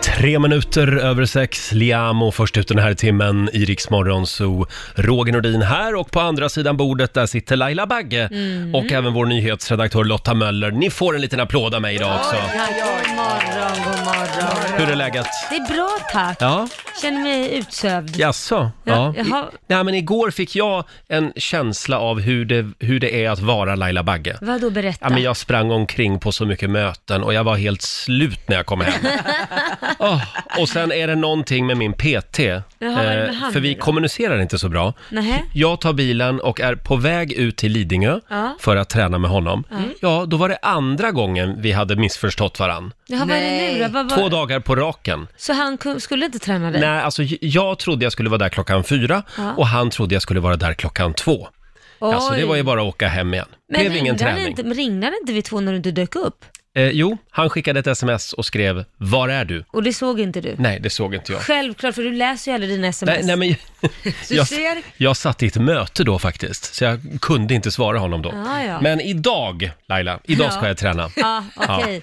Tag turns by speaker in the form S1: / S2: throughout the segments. S1: Tre minuter över sex, Liamo först ut den här timmen i Rix Morgon Zoo. Roger Nordin här och på andra sidan bordet där sitter Laila Bagge och även vår nyhetsredaktör Lotta Möller. Ni får en liten applåd av mig idag också.
S2: God morgon, god morgon.
S1: Hur är läget?
S2: Det är bra tack.
S1: Ja,
S2: Känner mig utsövd.
S1: jaså? Ja.
S2: Ja, jaha.
S1: Nej, men igår fick jag en känsla av hur det, hur det är att vara Laila Bagge.
S2: Vad då berätta?
S1: Ja, men jag sprang omkring på så mycket möten och jag var helt slut när jag kom hem. Åh, och sen är det någonting med min PT,
S2: vad är det med han
S1: för vi
S2: nu då?
S1: kommunicerar inte så bra.
S2: Nähä.
S1: Jag tar bilen och är på väg ut till Lidingö
S2: Ja. Mm.
S1: för att träna med honom. Ja, då var det andra gången vi hade missförstått varann.
S2: Jaha, vad är det nu då? Vad, vad...
S1: Två dagar på raken.
S2: Så han ku- skulle inte träna dig?
S1: Nej, alltså j- jag trodde jag skulle vara där klockan fyra
S2: Ja.
S1: och han trodde jag skulle vara där klockan två.
S2: Oj.
S1: Alltså det var ju bara att åka hem igen. Det blev ingen
S2: ringde han
S1: träning.
S2: Inte, men ringde han inte vid två när du inte dök upp?
S1: Eh, jo, han skickade ett sms och skrev “Var är du?”
S2: Och det såg inte du?
S1: Nej, det såg inte jag.
S2: Självklart, för du läser ju aldrig dina sms.
S1: Nej, nej, men
S2: Du
S1: jag,
S2: ser?
S1: jag satt i ett möte då faktiskt, så jag kunde inte svara honom då.
S2: Ah, Ja, ja.
S1: Men idag, Laila, idag ska
S2: Ja.
S1: jag träna.
S2: Ja, okej.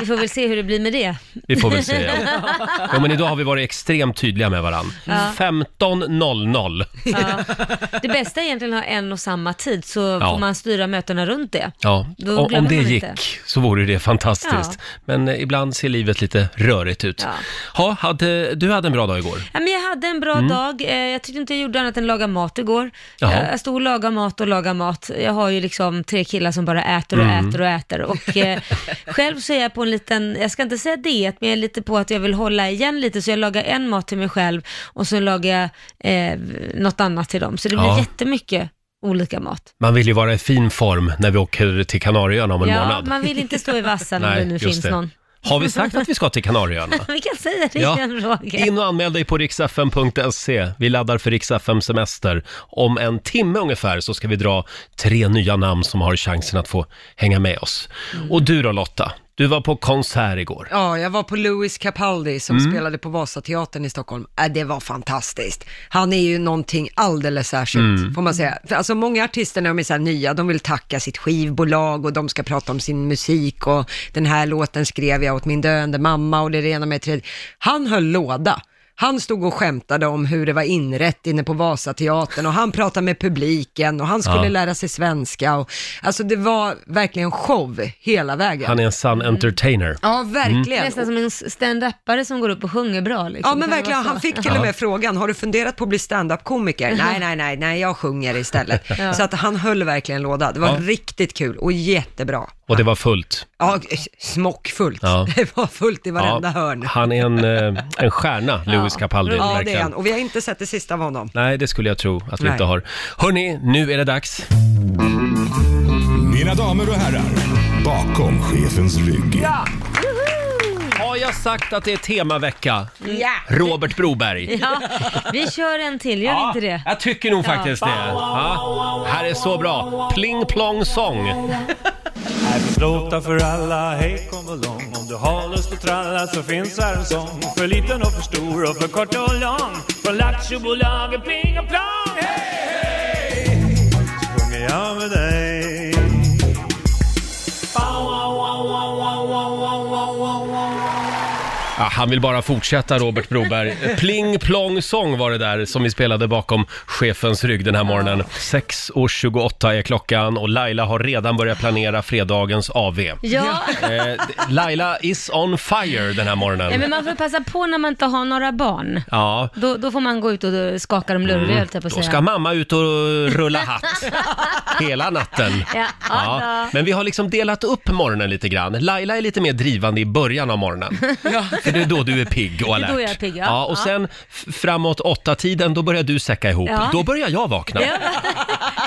S2: Vi får väl se hur det blir med det.
S1: Vi får väl se. Ja. Jo, men idag har vi varit extremt tydliga med varandra. 15.00.
S2: Ja. Det bästa är egentligen att ha en och samma tid, så får man styra mötena runt det.
S1: Ja,
S2: Då
S1: om- om
S2: glömmer
S1: det
S2: man
S1: gick
S2: inte.
S1: så vore det fantastiskt.
S2: Ja.
S1: Men eh, ibland ser livet lite rörigt ut.
S2: Ja.
S1: Ha, hade, du hade en bra dag igår.
S2: Ja, men jag hade en bra dag. Eh, Jag tyckte inte jag gjorde annat än laga mat igår.
S1: Mm. Jaha.
S2: Eh, Jag stod och lagade mat och lagade mat. Jag har ju liksom tre killar som bara äter och
S1: Mm.
S2: äter och äter. Och eh, själv så är jag på en liten, jag ska inte säga diet, men jag är lite på att jag vill hålla igen lite. Så jag lagar en mat till mig själv och så lagar jag eh, något annat till dem. Så det blir
S1: Ja.
S2: jättemycket olika mat.
S1: Man vill ju vara i fin form när vi åker till Kanarieöarna om en
S2: ja,
S1: månad.
S2: man vill inte stå i vassen om det nu
S1: just
S2: finns någon.
S1: Har vi sagt att vi ska till Kanarieöarna?
S2: Vi kan säga det
S1: Ja.
S2: igen Roger.
S1: In och anmäl dig på riksfm.se. Vi laddar för riksfm semester. Om en timme ungefär så ska vi dra tre nya namn som har chansen att få hänga med oss.
S3: Mm.
S1: Och du då Lotta, du var på konsert igår.
S3: Ja, jag var på Louis Capaldi som
S1: Mm.
S3: spelade på Vasateatern i Stockholm. Äh, det var fantastiskt. Han är ju någonting alldeles särskilt,
S1: Mm.
S3: får man säga. För alltså, många artister när de är så här nya, de vill tacka sitt skivbolag och de ska prata om sin musik och den här låten skrev jag åt min döende mamma och det är det ena med det tredje. Han höll låda. Han stod och skämtade om hur det var inrätt inne på Vasateatern och han pratade med publiken och han skulle
S1: Ja.
S3: lära sig svenska. Och, alltså det var verkligen show hela vägen.
S1: Han är en sann entertainer.
S3: Mm.
S1: Mm.
S3: Ja, verkligen.
S2: Mm. Nästan som en stand-upare som går upp och sjunger bra. Liksom.
S3: Ja
S2: Kan
S3: men
S2: det
S3: verkligen,
S2: vara så? Mm-hmm.
S3: han fick till och med frågan, har du funderat på att bli standup-komiker? Nej, nej, nej, nej, jag sjunger istället. Så att han höll verkligen låda, det var
S1: Ja.
S3: riktigt kul och jättebra.
S1: Och det var fullt.
S3: Ja, s- smockfullt.
S1: Ja.
S3: Det var fullt i varenda hörn.
S1: han är en, eh, en stjärna, Louis Capaldi.
S3: Ja, det är
S1: verkligen.
S3: han. Och vi har inte sett det sista av honom.
S1: Nej, det skulle jag tro att vi
S3: Nej.
S1: inte har. Hörni, nu är det dags.
S4: Mina damer och herrar, bakom chefens rygg.
S1: Har jag sagt att det är temavecka?
S3: Ja.
S1: Robert Broberg.
S2: Ja, vi kör en till, gör vi inte det?
S1: jag tycker nog faktiskt det. Ja. Här är så bra. Pling plong sång.
S5: Här finns låtar för alla, hej kom och lång. Om du har lust att tralla så finns här en sång. För liten och för stor och för kort och lång. Från Lattjobolaget pling och plong. Hej, hej! Så sjunger jag med dig. Bow, wow, wow, wow, wow, wow, wow, wow, wow, wow.
S1: Ja, han vill bara fortsätta, Robert Broberg. Pling plong sång var det där som vi spelade bakom chefens rygg den här morgonen. 6.28 är klockan och Laila har redan börjat planera fredagens AV.
S2: Ja.
S1: Eh, Laila is on fire den här
S2: ja,
S1: morgonen.
S2: men man får passa på när man inte har några barn.
S1: Ja, Mm.
S2: Då, då får man gå ut och skaka dem lurviga, höll jag på att
S1: då
S2: säga.
S1: ska mamma ut och rulla hatt hela natten.
S2: Ja,
S1: Ja,
S2: ja.
S1: men vi har liksom delat upp morgonen lite grann. Laila är lite mer drivande i början av morgonen. För det är då du är pigg och
S2: Det är
S1: alert.
S2: då jag är pigg, ja.
S1: ja, och
S2: Ja.
S1: sen f- framåt åtta tiden då börjar du säcka ihop.
S2: Ja.
S1: Då börjar jag vakna.
S2: Ja,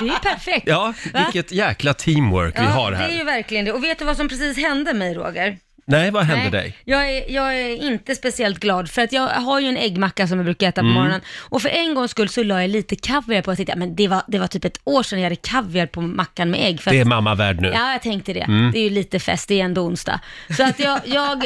S2: det är ju perfekt.
S1: Ja, vilket jäkla teamwork vi
S2: Ja,
S1: har
S2: Det är ju
S1: här.
S2: verkligen det. Och vet du vad som precis hände mig, Roger?
S1: Nej, vad hände
S2: Nej,
S1: dig?
S2: Jag är, jag är inte speciellt glad för att jag har ju en äggmacka som jag brukar
S1: Mm.
S2: äta på morgonen och för en gångs skull så la jag lite kaviar på. Jag tänkte, ja, men det var, det var typ ett år sedan jag hade kaviar på mackan med ägg. För
S1: Det är
S2: att,
S1: mamma värd nu. Mm.
S2: ja, jag tänkte det. Det är ju lite fest, det är ändå onsdag. Så att jag, jag,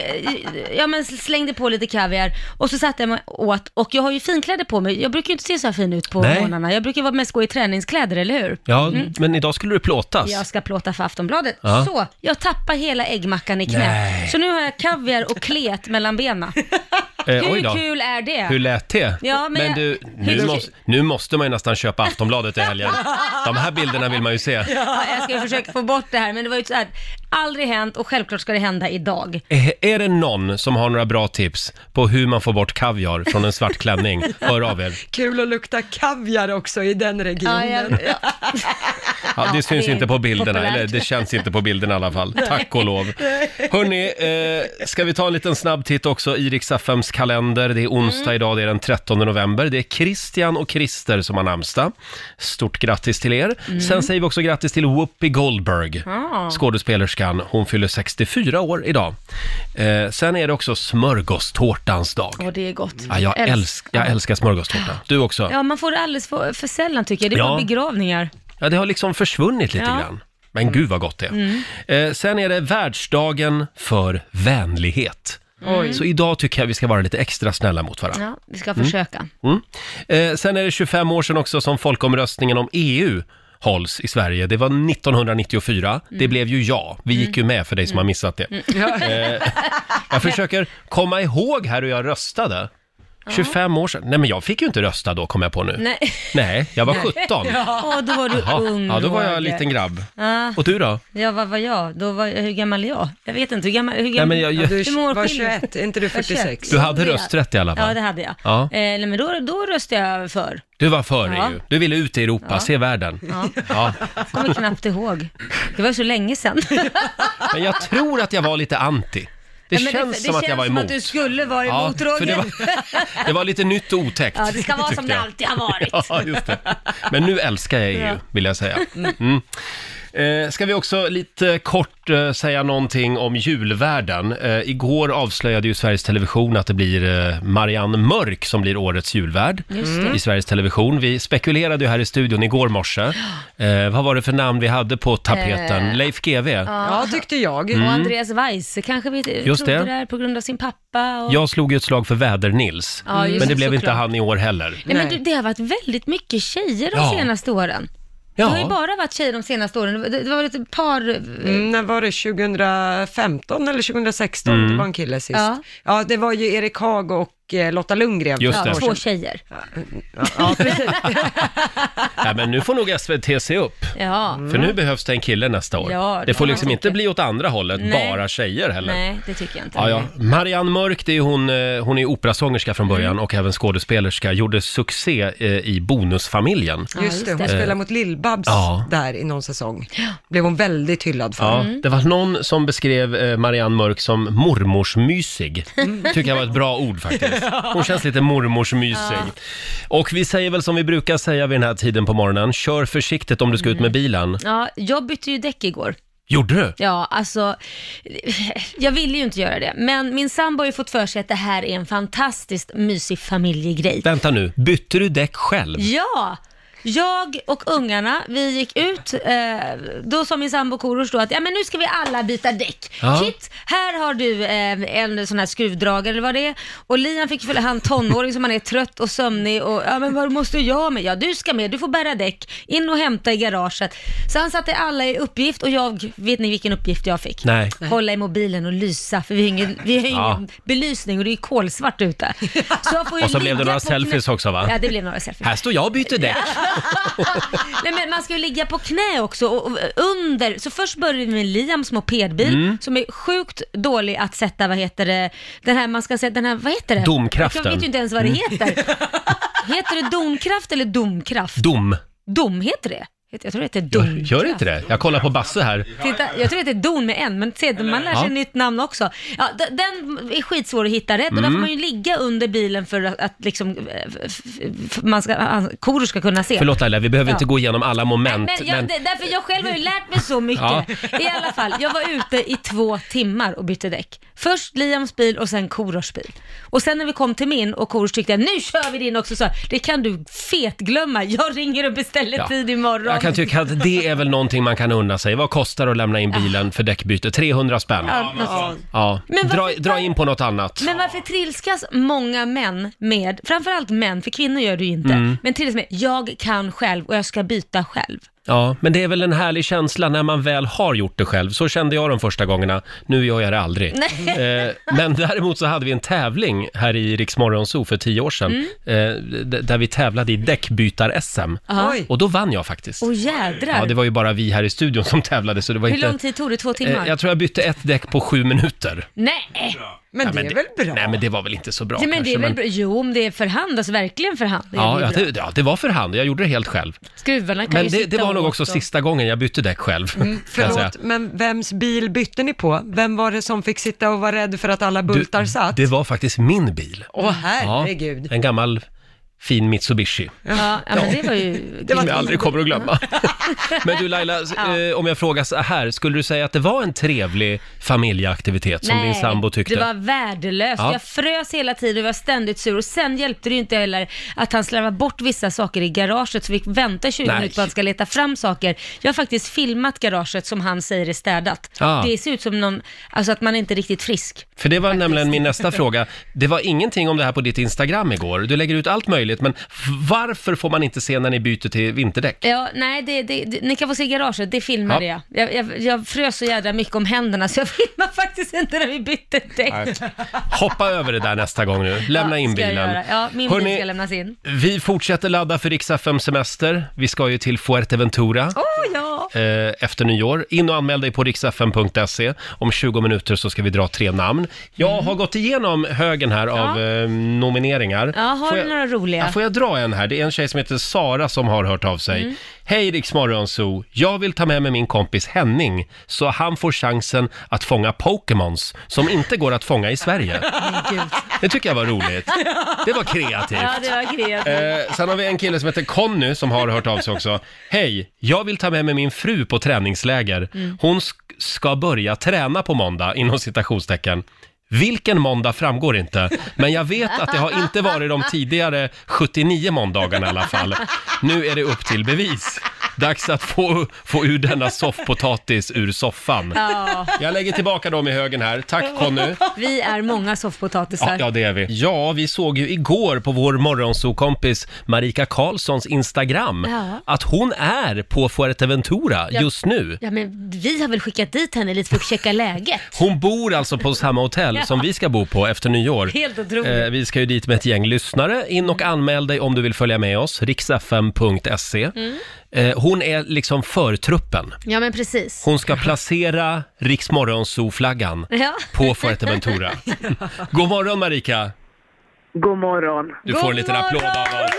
S2: ja, men slängde på lite kaviar och så satte jag mig åt och jag har ju finkläder på mig. Jag brukar ju inte se så här fin ut på
S1: Nej.
S2: morgnarna. Jag brukar ju vara mest gå i träningskläder, eller hur? Mm.
S1: Ja, men idag skulle du plåtas.
S2: Jag ska plåta för Aftonbladet.
S1: Ja.
S2: Så, jag tappar hela äggmackan i knät.
S1: Nej.
S2: Så nu har jag kaviar och klet mellan benen.
S1: Eh, oj
S2: Hur
S1: då.
S2: kul är det?
S1: Hur lät det?
S2: Ja, men jag-
S1: du, nu,
S2: Hur-
S1: måste, nu måste man ju nästan köpa Aftonbladet i helgen. De här bilderna vill man ju se.
S2: Ja, jag ska ju försöka få bort det här, men det var ju så här, aldrig hänt och självklart ska det hända idag.
S1: Eh, Är det någon som har några bra tips på hur man får bort kaviar från en svart klänning? Hör av er.
S3: Kul att lukta kaviar också i den regionen.
S1: Ja, det
S2: Ja,
S1: syns
S2: det är
S1: inte på bilderna,
S2: populärt.
S1: eller det känns inte på bilderna i alla fall. Tack och lov. Hörni, eh, ska vi ta en liten snabb titt också i Rix FMs kalender. Det är onsdag
S2: Mm.
S1: idag, det är den 13 november. Det är Christian och Christer som har namnsdag. Stort grattis till er.
S2: Mm.
S1: Sen säger vi också grattis till Whoopi Goldberg,
S2: Ah.
S1: skådespelerskan. Hon fyller 64 år idag. Eh, sen är det också smörgåstårtans dag.
S2: Och det är gott.
S1: Ja, jag,
S2: Älsk-
S1: älsk, jag älskar smörgåstårta. Du också?
S2: Mm. Ja, man får det alldeles för, för sällan tycker jag. Det är
S1: Ja.
S2: bara begravningar.
S1: Ja, det har liksom försvunnit lite
S2: Ja. Mm.
S1: grann. Men gud vad gott det är. Eh, sen är det världsdagen för vänlighet. Så idag tycker jag vi ska vara lite extra snälla mot varandra.
S2: Ja, vi ska försöka.
S1: Mm. Eh, sen är det 25 år sedan också som folkomröstningen om EU hålls i Sverige. Det var 1994.
S2: Mm.
S1: Det blev ju ja. Vi gick ju med för dig som har missat det. Eh, jag försöker komma ihåg här hur jag röstade. 25 år sedan. Nej, men jag fick ju inte rösta då, kom jag på nu.
S2: Nej.
S1: Nej, jag var 17.
S2: Åh, då var du
S1: Jaha.
S2: ung.
S1: Ja, då var jag
S2: Roger.
S1: en liten grabb.
S2: Ah,
S1: Och du då?
S2: ja, vad var jag? Då var, hur gammal är jag? Jag vet inte. Hur gammal, hur gammal,
S1: men jag-
S3: Ja, du
S2: Hur många år
S3: var
S2: skiljer?
S3: 21, är inte du 46?
S1: Du hade
S2: Ja.
S1: rösträtt i alla
S2: Ja,
S1: fall.
S2: det hade jag.
S1: Ja.
S2: Eh, nej, men då, då röstade jag för.
S1: Du var för
S2: Ja.
S1: EU. Du ville ut i Europa, se världen. Ja.
S2: Kommer knappt ihåg. Det var ju så länge sedan.
S1: Men jag tror att jag var lite anti. Det
S2: Men
S1: känns som att jag var
S2: som
S1: emot.
S2: att du skulle vara emot, Roger.
S1: för det, var, det var lite nytt och otäckt.
S2: Ja, det ska vara som
S1: tyckte
S2: det
S1: jag.
S2: alltid har varit.
S1: Ja, just det. Men nu älskar jag EU,
S2: Ja.
S1: vill jag säga. Mm. Eh, ska vi också lite kort eh, säga någonting om julvärden. Eh, igår avslöjade ju Sveriges Television att det blir eh, Marianne Mörk som blir årets julvärd
S2: Just det.
S1: i Sveriges Television. Vi spekulerade ju här i studion igår morse. Eh, vad var det för namn vi hade på tapeten?
S2: Eh,
S1: Leif GW?
S3: Ja, tyckte jag.
S2: Och Andreas Weise kanske vi
S1: Mm. Just det.
S2: trodde det. där på grund av sin pappa. Och...
S1: Jag slog ju ett slag för Väder-Nils,
S2: Ja, just
S1: men det
S2: det,
S1: blev inte
S2: såklart.
S1: han i år heller.
S2: Nej, men
S3: Nej.
S2: du, det har varit väldigt mycket tjejer de
S1: Ja.
S2: senaste åren. Det har ju bara varit tjejer de senaste åren. Det, det var ett par...
S3: Mm, när var det? 2015 eller 2016?
S1: Mm.
S3: Det var en kille sist.
S2: Ja.
S3: Ja, det var ju Erik Haag och eh, Lotta Lundgren.
S1: Just
S2: Ja,
S1: det.
S2: två tjejer.
S3: Ja, precis.
S1: Nej, men nu får nog SVT se upp.
S2: Ja.
S1: För nu behövs det en kille nästa år.
S2: Mm. Ja,
S1: det,
S2: det
S1: får
S2: kan
S1: liksom
S2: man
S1: inte
S2: tycka.
S1: bli åt andra hållet,
S2: Nej.
S1: bara tjejer heller.
S2: Nej, det tycker jag inte.
S1: Ja, ja. Marianne Mörk, det är ju hon, eh, hon är operasångerska från början och även skådespelerska, gjorde succé eh, i Bonusfamiljen.
S3: Just det, hon spelade mot Lill-Babs
S1: Eh, Ja.
S3: där i någon säsong. Blev hon väldigt hyllad för.
S1: Ja,
S2: Mm.
S1: Det var någon som beskrev eh, Marianne Mörk som mormorsmysig.
S2: Mm.
S1: Tycker jag var ett bra ord faktiskt. Hon känns lite mormorsmysig. Och vi säger väl som vi brukar säga vid den här tiden på morgonen, kör försiktigt om du ska ut med bilen.
S2: Mm. Ja, jag bytte ju däck igår.
S1: Gjorde du?
S2: Ja, alltså, jag ville ju inte göra det, men min sambo har ju fått för sig att det här är en fantastiskt mysig familjegrej.
S1: Vänta nu, bytte du däck själv?
S2: Ja! Jag och ungarna, vi gick ut, eh, då sa min sambo Korosh då att ja, men nu ska vi alla byta däck.
S1: Ja.
S2: Kit, här har du eh, en sån här skruvdragare eller vad det är. Och Lian fick följa han tonåring som han är trött och sömnig och ja men vad måste jag med? Ja du ska med, du får bära däck, in och hämta i garaget. Så han satte alla i uppgift och jag, vet ni vilken uppgift jag fick?
S1: Nej.
S2: Hålla i mobilen och lysa för vi har ingen, vi har ingen
S1: Ja.
S2: belysning och det är kolsvart ute. Så jag får ju
S1: Och så blev det
S2: ligga
S1: några
S2: på knä-
S1: selfies också, va?
S2: Ja det blev några selfies.
S1: Här står jag och byter däck.
S2: Nej men man ska ju ligga på knä också och och under, så först började vi med Liams mopedbil
S1: Mm.
S2: som är sjukt dålig att sätta, vad heter det, den här, man ska sätta den här, vad heter det?
S1: Domkraften. Mm.
S2: Jag vet ju inte ens vad det heter. heter det domkraft eller domkraft?
S1: Dom.
S2: Dom heter det. Jag tror det heter
S1: Gör,
S2: domkraft.
S1: gör inte det? Jag kollar på Basse här.
S2: Titta, jag tror det heter don med en, men se, man lär sig
S1: Ja.
S2: ett nytt namn också. Ja, d- den är skitsvår att hitta rätt och där
S1: Mm.
S2: får man ju ligga under bilen för att, att liksom, eh, f- f- f- man ska, han- kor ska kunna se.
S1: Förlåt Laila, vi behöver
S2: Ja.
S1: inte gå igenom alla moment.
S2: Men jag, det- Därför jag själv har ju lärt mig så mycket.
S1: Ja.
S2: I alla fall, jag var ute i två timmar och bytte däck. Först Liams bil och sen Korosh bil. Och sen när vi kom till min och Korosh tyckte nu kör vi din också, så det kan du fetglömma. Jag ringer och beställer
S1: Ja.
S2: tid imorgon.
S1: Jag kan tycka att det är väl någonting man kan unna sig. Vad kostar det att lämna in bilen för däckbyte? 300 spänn.
S2: Ja, något sånt.
S1: Ja,
S2: Men varför-
S1: dra, dra in på något annat.
S2: Men varför trilskas många män
S1: Mm.
S2: med, framförallt män, för kvinnor gör det ju inte, men trilskas med, jag kan själv och jag ska byta själv.
S1: Ja, men det är väl en härlig känsla när man väl har gjort det själv. Så kände jag de första gångerna. Nu gör jag det aldrig. Eh, men däremot så hade vi en tävling här i Rix Morgon Zoo för tio år sedan.
S2: Mm.
S1: Eh, d- där vi tävlade i däckbytar-SM.
S2: Ja.
S3: Oj.
S1: Och då vann jag faktiskt.
S2: Åh jädrar.
S1: Ja, det var ju bara vi här i studion som tävlade så det var
S2: Hur
S1: inte...
S2: lång tid tog det? Två timmar?
S1: Eh, jag tror jag bytte ett däck på sju minuter.
S2: Nej!
S3: Men
S1: Nej,
S3: det är väl bra?
S1: Nej, men det var väl inte så bra
S2: Ja, men det
S1: kanske,
S2: är väl bra. Jo, om det är för hand, alltså verkligen för hand. Det är
S1: Ja,
S2: väl
S1: ja,
S2: bra.
S1: det, ja, det var för hand. Jag gjorde det helt själv.
S2: Skruvarna kan
S1: Men
S2: ju
S1: det,
S2: sitta
S1: det var nog
S2: åt
S1: också
S2: och-
S1: sista gången jag bytte däck själv. kan jag säga.
S3: Mm, Förlåt, men vems bil bytte ni på? Vem var det som fick sitta och vara rädd för att alla bultar satt?
S1: Det var faktiskt min bil.
S3: Åh herregud.
S1: en gammal fin Mitsubishi.
S2: Ja, ja, men det var ju...
S1: Som jag aldrig kommer att glömma. Men du Laila, s-
S2: Ja.
S1: eh, om jag frågar så här, skulle du säga att det var en trevlig familjeaktivitet som din sambo tyckte?
S2: det var värdelöst.
S1: Ja.
S2: Jag frös hela tiden och var ständigt sur. Och sen hjälpte det ju inte heller att han slarvade bort vissa saker i garaget, så vi fick vänta 20
S1: Nej.
S2: minuter på att han ska leta fram saker. Jag har faktiskt filmat garaget som han säger är städat.
S1: Ah.
S2: Det ser ut som någon, alltså att man är inte riktigt frisk.
S1: För det var nämligen min nästa fråga. Det var ingenting om det här på ditt Instagram igår. Du lägger ut allt möjligt, men varför får man inte se när ni byter till vinterdäck?
S2: Ja, nej, det, det, det, ni kan få se garaget, det filmade
S1: Ja.
S2: jag. Jag, jag. jag frös så jädra mycket om händerna så jag filmade faktiskt inte när vi bytte däck.
S1: Hoppa över det där nästa gång nu. Lämna
S2: Ja,
S1: in
S2: ska jag
S1: bilen.
S2: göra. Ja, min
S1: Hörrni,
S2: bil ska lämnas in.
S1: Vi fortsätter ladda för Rix FM semester. Vi ska ju till Fuerteventura.
S2: Åh ja!
S1: eh, efter nyår. In och anmäl dig på riksfn.se. Om 20 minuter så ska vi dra tre namn. Jag
S2: Mm.
S1: har gått igenom högen här av eh, nomineringar.
S2: Ja, har
S1: Får
S2: du
S1: jag-
S2: några roliga?
S1: Ja, får jag dra en här? Det är en tjej som heter Sara som har hört av sig.
S2: Mm.
S1: Hej Riksmorgonzoo! Jag vill ta med mig min kompis Henning så han får chansen att fånga Pokémons som inte går att fånga i Sverige. Det tycker jag var roligt. Det var kreativt.
S2: Ja, det var kreativt.
S1: Eh, sen har vi en kille som heter Conny som har hört av sig också. Hej, jag vill ta med mig min fru på träningsläger. Hon sk- ska börja träna på måndag, inom citationstecken. Vilken måndag framgår inte, men jag vet att det har inte varit de tidigare 79 måndagarna i alla fall. Nu är det upp till bevis. Dags att få, få ur denna soffpotatis ur soffan.
S2: Ja,
S1: Jag lägger tillbaka dem i högen här. Tack Conny.
S2: vi är många soffpotatisar.
S1: Ja, ja, det är vi. Ja, vi såg ju igår på vår morgonsokompis Marika Karlssons Instagram
S2: Ja.
S1: att hon är på Fuerteventura
S2: Ja.
S1: just nu.
S2: Ja, men vi har väl skickat dit henne lite för att checka läget.
S1: Hon bor alltså på samma hotell
S2: Ja.
S1: som vi ska bo på efter nyår.
S2: Helt otroligt.
S1: Eh, vi ska ju dit med ett gäng lyssnare. In och anmäl dig om du vill följa med oss, riksfm.se.
S2: Mm.
S1: Eh, hon är liksom förtruppen.
S2: Ja, men precis.
S1: Hon ska placera Riksmorgonzoo-flaggan
S2: Ja.
S1: på Fuerteventura. God morgon Marika!
S6: God morgon.
S1: Du
S2: God
S1: får en liten applåd av
S2: morgon!
S1: oss.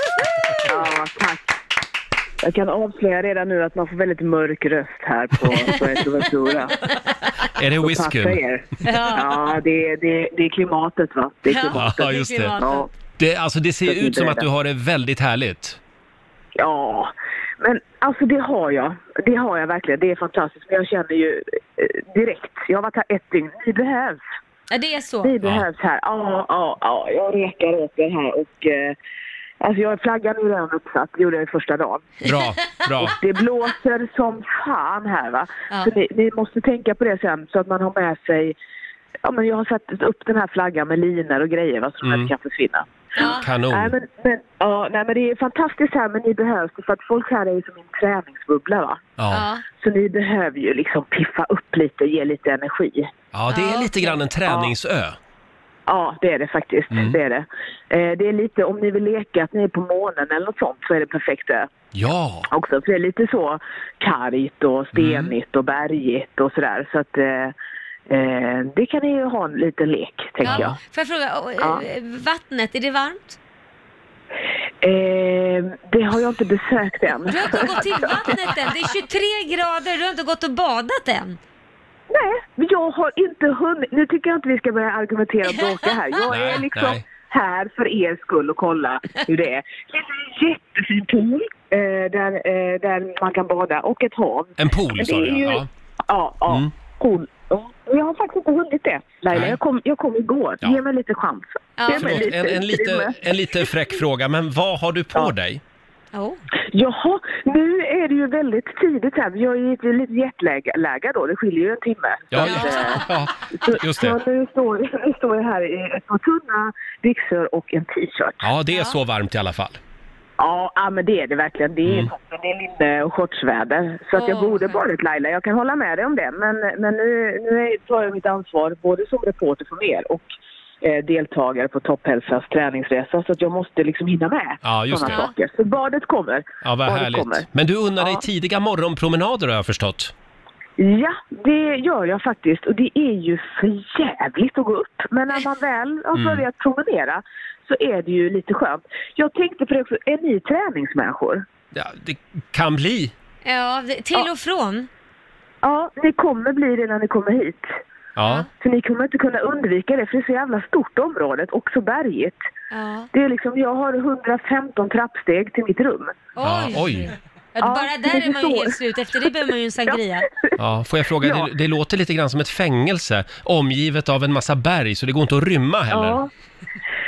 S6: Ja, tack. Jag kan avslöja redan nu att man får väldigt mörk röst här på Fuerteventura.
S1: Är det
S6: Passa
S1: whiskyn?
S6: er. Ja, det, är- det, är- det är klimatet va? Det är
S2: Ja.
S6: klimatet.
S1: Ja, just det.
S6: Ja.
S1: det. Alltså det ser
S6: Jag är
S1: ut som
S6: beredd.
S1: att du har det väldigt härligt.
S6: ja, men alltså det har jag. Det har jag verkligen. Det är fantastiskt. Men jag känner ju eh, direkt. Jag har varit här ett dygn. Ni behövs.
S2: Ja, det är så.
S6: Ni behövs här. Ja, ja, ja. Jag rekar åt er här och eh, alltså jag flaggan är redan uppsatt. Det gjorde jag ju första dagen.
S1: Bra, bra.
S6: Det blåser som fan här va.
S2: Ja.
S6: Så ni, ni måste tänka på det sen så att man har med sig Ja men jag har satt upp den här flaggan med linor och grejer va, så mm. den kan försvinna.
S2: Ja.
S6: Nej,
S1: Kanon.
S6: men, men, ja, nej men det är fantastiskt här men ni behövs för att folk här är ju som en träningsbubbla va.
S1: Ja.
S2: Ja.
S6: Så ni behöver ju liksom piffa upp lite, ge lite energi.
S1: ja, det är lite grann en träningsö.
S6: Ja det är det faktiskt,
S1: Mm.
S6: det är det. Eh, det är lite, om ni vill leka att ni är på månen eller något sånt så är det perfekt det.
S1: Ja,
S6: också. För det är lite så kargt
S1: Mm.
S6: och stenigt och bergigt och sådär. Så att eh, eh, det kan ni ju ha en liten lek, tänker jag.
S2: Ja. Får jag fråga, och,
S6: Ja.
S2: eh, vattnet, är det varmt?
S6: Eh, det har jag inte besökt än.
S2: Du har inte gått till vattnet än, det är 23 grader, du har inte gått och badat än.
S6: Nej, men jag har inte hunnit. Nu tycker jag inte vi ska börja argumentera och bråka här. Jag
S1: Nej,
S6: är liksom
S1: nej.
S6: här för er skull och kolla hur det är. Det är en jättefin pool eh, där, eh, där man kan bada och ett hav.
S1: en pool
S6: Men
S1: sa
S6: det är
S1: du
S6: ju-
S1: ja.
S6: Ja, ja.
S1: Mm.
S6: Cool. Ja. Men Jag har faktiskt inte hunnit det, Laila.
S1: Nej.
S6: Jag kom, jag kom igår.
S1: Ja.
S6: Ge mig lite chans.
S2: Ja.
S6: Ge mig
S1: Förlåt, en, en, lite,
S6: utrymme.
S1: en lite fräck fråga, men vad har du på dig?
S2: Oh.
S6: Jaha, nu är det ju väldigt tidigt här. Jag är ju lite jetlaggad då. Det skiljer ju en timme.
S1: Ja,
S6: Så att,
S1: ja,
S6: eh,
S1: ja,
S6: så-
S1: just
S6: Så
S1: det.
S6: nu står, nu står jag här i ett par tunna byxor och en t-shirt.
S1: Ja, det är så varmt i alla fall.
S6: Ja, ja, men det är det verkligen. Det är
S1: Mm.
S6: toppen. Det är linne och shortsväder. Så att jag
S2: Åh,
S6: borde
S2: skönt.
S6: varit Laila. Jag kan hålla med dig om det. Men, men nu, nu är- tar jag mitt ansvar både som reporter för er och eh, deltagare på Topphälsans träningsresa. Så att jag måste liksom hinna med
S1: Ja, just
S6: såna
S1: det.
S6: saker. Så badet kommer.
S1: Ja, vad
S6: Badet
S1: härligt.
S6: kommer.
S1: Men du unnar dig
S6: Ja.
S1: tidiga morgonpromenader har jag förstått.
S6: Ja, det gör jag faktiskt. Och det är ju för jävligt att gå upp. Men när man väl har börjat promenera så är det ju lite skönt. Jag tänkte på det också, är ni träningsmänniskor?
S1: Ja, det kan bli.
S2: Ja, det- till och från.
S6: Ja, ni kommer bli det när ni kommer hit.
S1: Ja.
S6: För ni kommer inte kunna undvika det, för det är så jävla stort området och så bergigt.
S2: Ja.
S6: Det är liksom, jag har 115 trappsteg till mitt rum.
S1: Ja,
S2: Oj.
S1: oj.
S2: Ja,
S6: Ja,
S2: bara
S6: det
S2: där är man ju
S6: förstår.
S2: helt slut. Efter det behöver man ju en sangria.
S1: Ja, får jag fråga,
S6: Ja.
S1: det, det låter lite grann som ett fängelse omgivet av en massa berg så det går inte att rymma heller.
S6: Ja.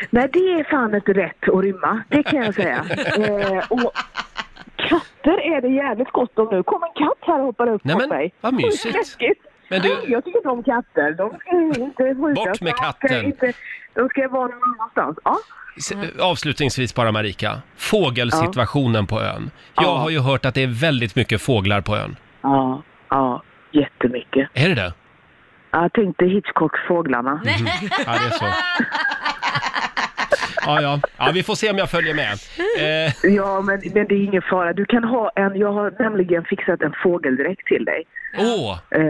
S6: Nej, det är fan inte rätt att rymma, det kan jag säga. eh, och katter är det jävligt gott om nu. Kom en katt här och hoppar upp
S1: Nej,
S6: på
S1: men,
S6: mig.
S1: vad
S6: Oj,
S1: mysigt.
S6: läskigt.
S1: Men du-
S6: Nej, jag tycker inte om katter. De ska ju inte skjutas.
S1: Bort med
S6: De ska
S1: katten.
S6: Inte, de ska vara någon annanstans. Ja.
S1: S- Avslutningsvis bara Marika, fågelsituationen på ön. Jag
S6: Ja.
S1: har ju hört att det är väldigt mycket fåglar på ön.
S6: ja, ja, jättemycket.
S1: Är det det?
S6: Jag tänkte Hitchcock fåglarna.
S1: Ja, det är så. Ja, ja. ja, vi får se om jag följer med. Eh,
S6: Ja, men, men det är ingen fara. Du kan ha en, jag har nämligen fixat en fågeldräkt till dig.
S1: åh,
S6: Eh,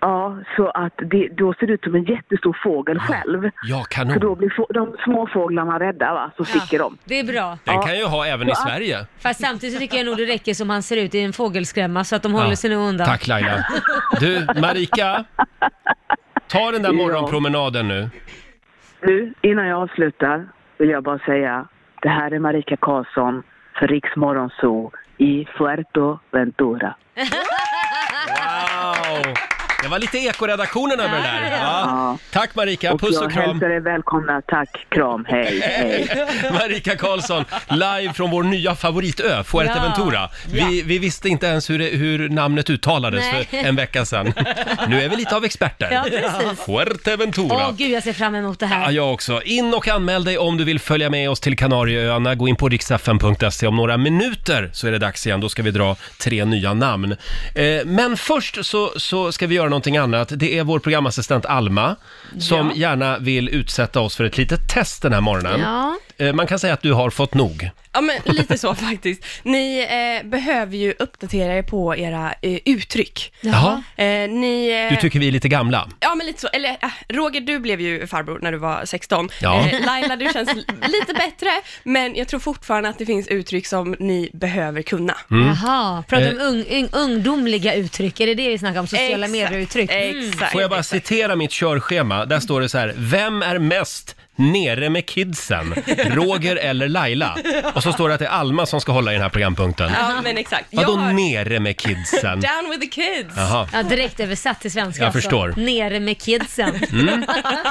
S6: ja, så att det, då ser du ut som en jättestor fågel själv.
S1: ja
S6: Så då
S1: kanon.
S6: blir få, de små fåglarna rädda va, så sticker de.
S2: Det är bra.
S1: Den kan jag ju ha även i Sverige.
S2: Fast samtidigt så tycker jag nog det räcker som han ser ut i en fågelskrämma så att de håller
S1: Ja.
S2: sig nog undan.
S1: Tack Laila. Du, Marika. Ta den där
S6: Ja.
S1: morgonpromenaden nu.
S6: Nu, innan jag avslutar, vill jag bara säga, det här är Marika Karlsson för Riks Morgonzoo i Fuerto Ventura.
S1: Wow! Det var lite ekoredaktionen över det där. Ja.
S6: Ja.
S1: Tack Marika,
S6: och
S1: puss
S6: jag
S1: och kram.
S6: hälsar er välkomna. Tack, kram, hej, hej.
S1: Marika Karlsson, live från vår nya favoritö, Fuerteventura. Vi, vi visste inte ens hur, det, hur namnet uttalades
S2: Nej.
S1: för en vecka sedan. Nu är vi lite av experter.
S2: Ja, precis.
S1: Fuerteventura.
S2: Åh gud, jag ser fram emot det
S1: Ja,
S2: här.
S1: jag också. In och anmäl dig om du vill följa med oss till Kanarieöarna. Gå in på riksfn.se. Om några minuter så är det dags igen. Då ska vi dra tre nya namn. Eh, men först så, så ska vi göra någonting annat. Det är vår programassistent Alma som gärna vill utsätta oss för ett litet test den här morgonen.
S7: Ja.
S1: Eh, man kan säga att du har fått nog.
S7: Ja, men lite så faktiskt. Ni eh, behöver ju uppdatera er på era eh, uttryck.
S1: Jaha.
S7: Eh, ni... eh,
S1: Du tycker vi är lite gamla.
S7: Ja, men lite så. Eller äh, Roger, du blev ju farbror när du var 16.
S1: Ja.
S7: Eh, Laila, du känns l- lite bättre, men jag tror fortfarande att det finns uttryck som ni behöver kunna.
S1: Mm.
S2: Jaha, pratar om
S1: Eh.
S2: ung, ung, ungdomliga uttryck, är det det vi snackar om? Sociala Mm.
S7: Exakt.
S2: medier-uttryck?
S7: Exakt.
S1: Får jag bara citera mitt körschema? Där står det så här, vem är mest nere med kidsen? Roger eller Laila? Och så står det att det är Alma som ska hålla i den här programpunkten.
S7: Ja, men exakt.
S1: Vadå
S7: jag har...
S1: nere med kidsen?
S7: Down with the kids.
S1: Jaha.
S2: Ja, direkt översatt till svenska
S1: Jag
S2: alltså.
S1: förstår.
S2: Nere med kidsen.
S1: Mm.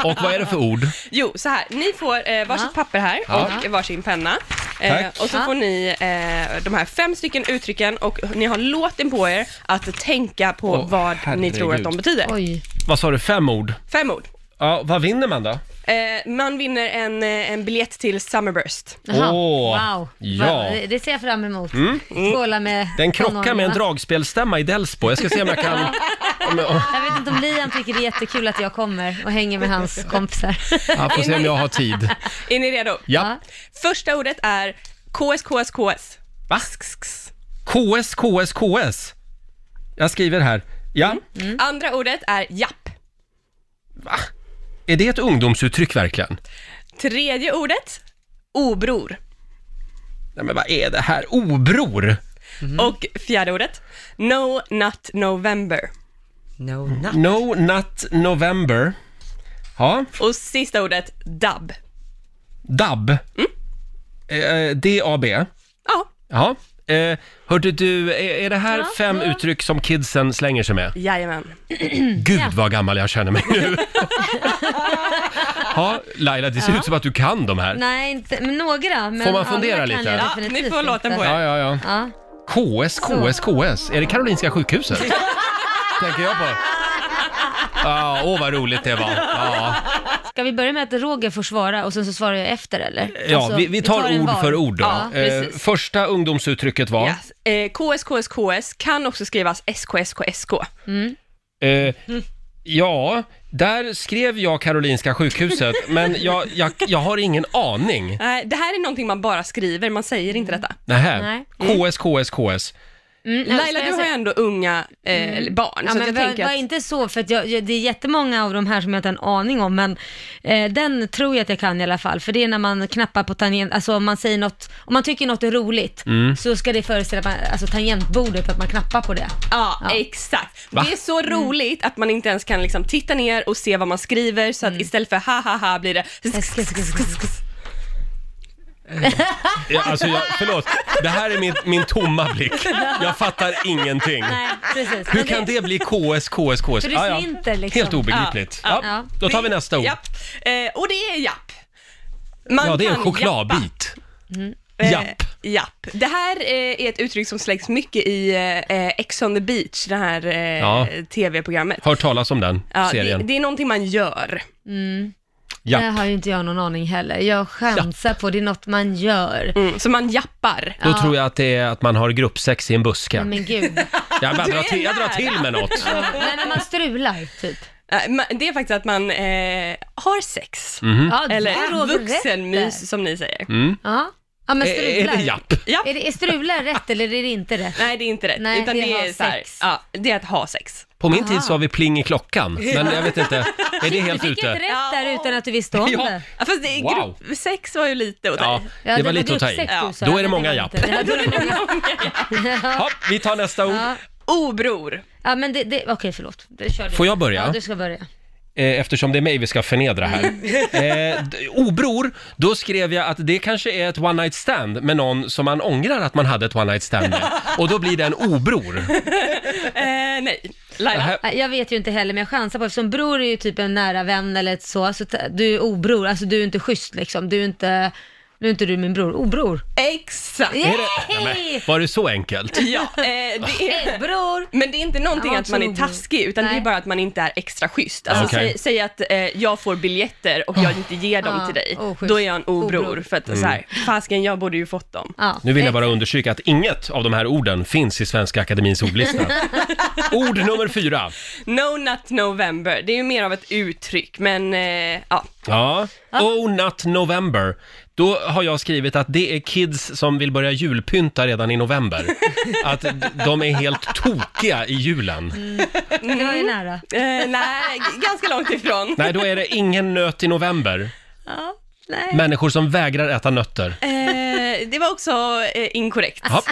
S1: Och vad är det för ord?
S7: Jo, så här. Ni får eh, varsitt
S2: Ja.
S7: papper här
S1: Ja.
S7: och varsin penna. Eh,
S1: Tack.
S7: och så
S2: Ja.
S7: får ni eh, de här fem stycken uttrycken och ni har låten på er att tänka på
S1: Åh,
S7: vad ni
S1: herregud.
S7: tror att de betyder.
S2: Oj.
S1: Vad sa du, fem ord?
S7: Fem ord.
S1: Ja, vad vinner man då?
S7: Eh, man vinner en, eh, en biljett till Summerburst.
S2: Jaha.
S1: Åh,
S2: wow.
S1: ja.
S2: Va- det- Det ser jag fram emot.
S7: Mm.
S2: Skåla med
S1: Mm. Den krockar med en
S2: tonåringarna.
S1: dragspelstämma i Delsbo. Jag ska se om jag kan... om jag-
S2: Jag vet inte om Liam tycker det är jättekul att jag kommer och hänger med hans kompisar.
S1: Ja, får se om jag har tid.
S7: Är ni redo?
S1: Ja.
S7: Första ordet är KSKSKS.
S1: Va?
S7: KS.
S1: KS, KS, KS. Jag skriver här. Ja.
S7: Mm.
S2: Mm.
S7: Andra ordet är japp.
S1: Är det ett ungdomsuttryck verkligen?
S7: Tredje ordet, obror.
S1: Nej men vad är det här? Obror!
S2: Mhm.
S7: Och fjärde ordet, no not November.
S3: No, not.
S1: No Nut November. Ja,
S7: Och sista ordet, dab.
S1: DAB. Eh, D-A-B.
S7: Ja,
S1: Ja. Eh, hörde du, är, är det här fem uttryck som kidsen slänger sig med?
S7: jajamän.
S1: Gud vad gammal jag känner mig nu. ja, Laila, det ser ut som att du kan de här.
S2: Nej, inte, men några. Men
S1: Får man
S2: alla
S1: fundera
S2: kan
S1: lite?
S2: jag
S1: Ja,
S2: definitivt
S7: ni får låten
S2: inte.
S7: på er.
S1: Ja, ja, ja.
S2: Ja.
S1: KS, KS, KS. Är det Karolinska sjukhuset? Tänker jag på. Ja, åh vad roligt det var. Ja.
S2: Ska vi börja med att Roger får svara och sen så svarar jag efter eller?
S1: Ja,
S2: Alltså,
S1: vi, vi tar,
S2: en
S1: ord
S2: var.
S1: för ord då.
S7: Ja,
S1: eh,
S7: precis.
S1: första ungdomsuttrycket var?
S7: Yes. Eh, KS, KS, KS kan också skrivas SKSK, SK.
S2: Mm.
S1: Eh, ja, där skrev jag Karolinska sjukhuset, men jag, jag, jag har ingen aning.
S7: Nej, Eh, det här är någonting man bara skriver, man säger inte detta.
S1: Nähä,
S2: Nej.
S1: KS, KS, KS.
S2: Mm, eller ska
S7: Laila,
S2: jag
S7: du har
S2: säga-
S7: ju ändå unga eh, barn,
S2: Ja,
S7: så att
S2: men
S7: jag
S2: var,
S7: tänker
S2: var
S7: att...
S2: inte så, för att jag, jag, det är jättemånga av de här som jag inte har en aning om, men eh, den tror jag att jag kan i alla fall, för det är när man knappar på tangent, alltså om man säger något, om man tycker något är roligt,
S1: Mm.
S2: så ska det föreställa man, alltså tangentbordet, att man knappar på det.
S7: Ja,
S2: Ja. Mm.
S7: exakt. Det är så roligt att man inte ens kan liksom titta ner och se vad man skriver, så att
S2: Mm.
S7: istället för ha ha ha blir det
S1: Ja, alltså jag, förlåt, det här är min, min tomma blick. Jag fattar ingenting.
S2: Nej, precis.
S1: Hur
S2: Men
S1: kan det bli KS, KS, KS?
S2: För det slinter liksom.
S1: Helt obegripligt. Ja,
S7: Ja,
S2: ja.
S1: Då tar vi nästa ord.
S7: Japp. Eh, och det är japp. Man
S1: Ja, det är en
S7: kan jappa.
S1: chokladbit.
S7: Eh,
S1: Japp.
S7: japp. Det här eh, är ett uttryck som slängs mycket i eh, Ex on the beach, det här eh,
S1: Ja.
S7: tv-programmet.
S1: Hört talas om den
S7: Ja, det,
S1: serien.
S7: det är någonting man gör.
S2: Mm. Det
S1: Japp.
S2: har ju inte jag någon aning heller. Jag chansar på det är något man gör.
S7: Mm, så man jappar.
S1: Då tror jag att det är att man har gruppsex i en buske.
S2: Men gud.
S1: Jag, bara
S7: Du är
S1: drar till, jag drar
S7: nära.
S1: till med något.
S2: Nej, men man strular typ.
S7: Eh, ma- Det är faktiskt att man eh, har sex.
S1: Mhm.
S2: Ja, där
S7: Eller
S2: har du rätt där.
S7: vuxenmys som ni säger.
S2: Ja. ja, men strular.
S1: Mm. Är är det japp?
S7: Japp.
S2: Är, det, är strular rätt eller är det inte rätt?
S7: Nej, det är inte rätt.
S2: Nej,
S7: utan
S2: det
S7: det,
S2: är ha
S7: är så här,
S2: sex.
S7: ja, det är att ha sex.
S1: På min tid så har vi pling i klockan, men jag vet inte. Är det helt
S2: du fick
S1: ute?
S2: inte rätt där utan att du visste om
S1: Ja,
S2: det.
S7: Ja, fast det är
S1: Wow.
S7: grupp, sex var ju lite åt
S1: ja,
S7: dig.
S1: det var lite att ta i.
S2: gruppsex du sa,
S1: Då
S2: men
S1: är det många
S2: var
S1: japp.
S2: inte. Ja, då är det många.
S1: Hopp, vi tar nästa ord.
S2: Ja.
S7: Obror.
S2: Ja, men det, det, okej förlåt. Det kör du.
S1: Får jag börja?
S2: Ja, du ska börja.
S1: eh, eftersom det är mig vi ska förnedra här. Eh, d- obror, då skrev jag att det kanske är ett one night stand med någon som man ångrar att man hade ett one night stand med. Och då blir det en obror.
S7: Eh, nej,
S1: Det
S7: Laila.
S1: här,
S2: Nej, Jag vet ju inte heller, men jag chansar på eftersom bror är ju typ en nära vän eller ett så, så ta- du är obror, alltså du är inte schysst liksom, du är inte, nu är inte du min bror, obror.
S7: Exakt.
S1: är det, Nej, men, var det så enkelt?
S7: Ja, eh, det
S2: Hej
S7: är,
S2: bror!
S7: men det är inte någonting
S2: Jag var
S7: att man är
S2: också obror.
S7: taskig, utan det
S2: Nej.
S7: är bara att man inte är extra schysst. Alltså,
S1: Okej. Oh.
S7: säg, säg att eh, jag får biljetter och jag inte ger dem
S2: Ah,
S7: till dig.
S2: oschysst.
S7: Då är jag en obror,
S2: Obror. Ah.
S7: för att så här, fasken, jag borde ju fått dem.
S2: Ja.
S1: Mm. Nu vill jag bara understryka att inget av de här orden finns i Svenska Akademins ordlista. Ord nummer fyra.
S7: No Nut November, det är ju mer av ett uttryck, men eh, ja.
S1: Ja. Oh Not November. Då har jag skrivit att det är kids som vill börja julpynta redan i november. Att d- de är helt tokiga i julen.
S2: Mm. Det var ju nära.
S7: Eh, nej, g- ganska långt ifrån.
S1: Nej, då är det ingen nöt i november.
S2: Ja, nej.
S1: Människor som vägrar äta nötter.
S7: Eh, det var också eh, inkorrekt.
S1: Ja.
S2: Alltså.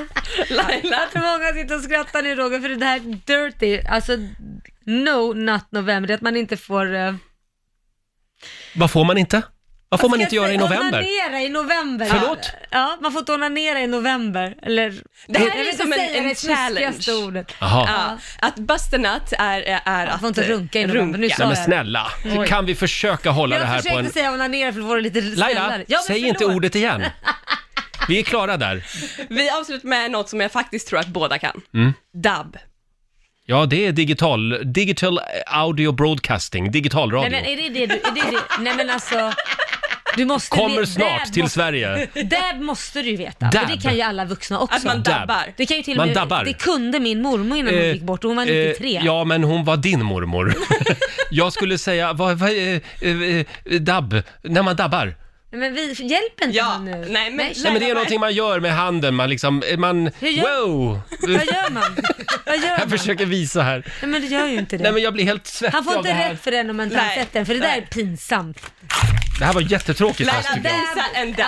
S7: Laila,
S2: För många sitter och skrattar nu Roger, för det här dirty, alltså no not november, det är att man inte får... eh,
S1: Vad får man inte? Vad får man inte göra i november?
S2: Onanera i november.
S1: Förlåt?
S2: Ja, man får inte onanera i november. Eller,
S7: Det här
S2: Jag
S7: är
S2: vill
S7: som
S2: inte
S7: en-
S2: säga
S7: en
S2: det snuskigaste
S7: challenge.
S2: Ordet.
S1: Jaha.
S7: ja, att bust a nut är, är
S2: Man
S7: att
S2: får inte runka i
S7: eh,
S2: november, nu sa
S1: Nej men
S2: jag.
S1: snälla, kan vi försöka hålla det
S2: Jag
S1: här
S2: försökte
S1: på en...
S2: säga onanera för att vara lite snällare.
S1: Laila,
S2: Ja, men
S1: säg inte
S2: förlåt.
S1: ordet igen. Vi är klara där.
S7: Vi avslutar med något som jag faktiskt tror att båda kan. Dub.
S1: Mm. Ja, det är digital, digital audio broadcasting, digital radio.
S2: Nej men är det det du, är det det? Nej men alltså. Du måste
S1: Kommer
S2: ve-
S1: snart
S2: dab
S1: till
S2: måste-
S1: Sverige.
S2: Dab måste du ju veta.
S1: Dab.
S2: För det kan ju alla vuxna också.
S7: Att man
S1: Dab.
S7: dabbar.
S2: det kan ju till och
S1: man
S2: med,
S1: dabbar.
S2: det kunde min mormor innan hon
S1: Eh,
S2: gick bort och hon var
S1: eh,
S2: 93.
S1: Ja, men hon var din mormor. Jag skulle säga, vad, vad, eh, eh, eh, dabb, när man dabbar.
S2: Men vi, hjälp inte
S7: Ja,
S2: henne nu.
S7: nej, men-
S1: Nej, men det är
S7: Laila,
S1: någonting man gör med handen, man liksom, eh, man,
S2: Hur gör-
S1: wow!
S2: Vad gör man? Vad gör
S1: Jag
S2: man?
S1: försöker visa här.
S2: Nej men det gör ju inte det.
S1: Nej men jag blir helt svettig
S2: Han får
S1: av det
S2: inte
S1: här.
S2: rätt för den om man inte har
S7: Nej.
S2: sett den, för det där är
S7: Nej.
S2: pinsamt.
S1: Det här var jättetråkigt
S7: Laila,
S1: fast tycker jag.
S7: där- Visa en dab.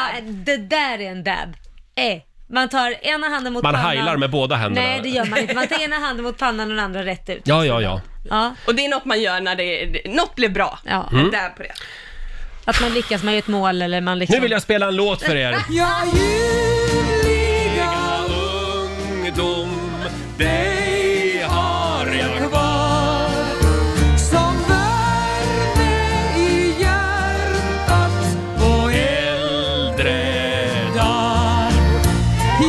S2: Ja, det där är en dab. Eh, man tar ena handen mot
S1: Man
S2: pannan.
S1: heilar med båda händerna.
S2: Nej, det gör man inte. Man tar ena handen mot pannan och den andra rätt ut.
S1: Ja, ja, ja.
S2: Ja,
S7: Och det är något man gör när det, det- något blir bra.
S2: ja.
S7: En Dab på det.
S2: Att man lyckas, man gör ett mål eller man liksom...
S1: Nu vill jag spela en låt för er.
S8: Jag ljuvliga
S1: Ungdom, dig har jag
S8: kvar som värme i hjärtat och
S1: äldre
S8: eldar.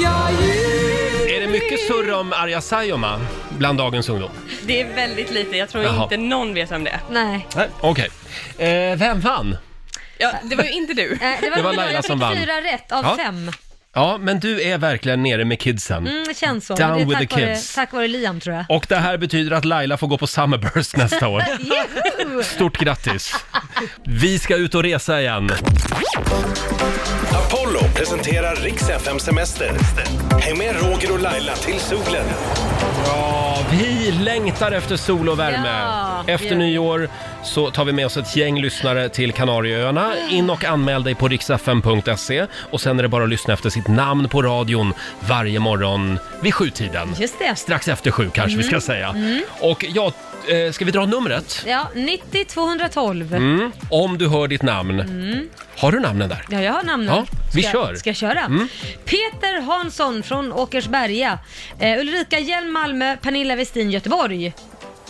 S8: Jag ljuvliga
S1: Är det mycket surr om Arja Saijonmaa bland dagens ungdom?
S7: Det är väldigt lite, jag tror
S1: Jaha.
S7: inte någon vet vem det är.
S2: Nej.
S1: Nej, okej. Eh, vem vann?
S7: Ja, det var ju inte du.
S2: Nej, Det var,
S1: Det var
S2: bra.
S1: Laila
S2: jag fick
S1: som vann.
S2: fyra rätt av
S1: Ja.
S2: fem.
S1: Ja, men du är verkligen nere med kidsen.
S2: Mm, det känns så.
S1: Down
S2: Men det
S1: with
S2: är
S1: the
S2: tack, vare,
S1: kids.
S2: tack vare Liam tror jag.
S1: Och det här betyder att Laila får gå på Summerburst nästa år.
S2: Juhu!
S1: Stort grattis! Vi ska ut och resa igen.
S9: Apollo presenterar Rix FM Semester. Häng med Roger och Laila till solen.
S1: Vi längtar efter sol och värme.
S2: Ja, det
S1: efter
S2: gör vi.
S1: nyår så tar vi med oss ett gäng lyssnare till Kanarieöarna. In och anmäl dig på riksfm.se och sen är det bara att lyssna efter sitt namn på radion varje morgon vid sjutiden.
S2: Just det. Mm.
S1: Strax efter sju kanske vi ska säga. Och ja, eh, ska vi dra numret?
S2: Ja, 90 212.
S1: Mm. Om du hör ditt namn. Har du namnen där?
S2: Ja, jag Mm. har namnen.
S1: Ja, vi
S2: ska,
S1: kör. Mm.
S2: Ska jag köra? Peter Hansson från Åkersberga. Eh, Ulrika Hjelm, Malmö. Pernilla Westin, Göteborg.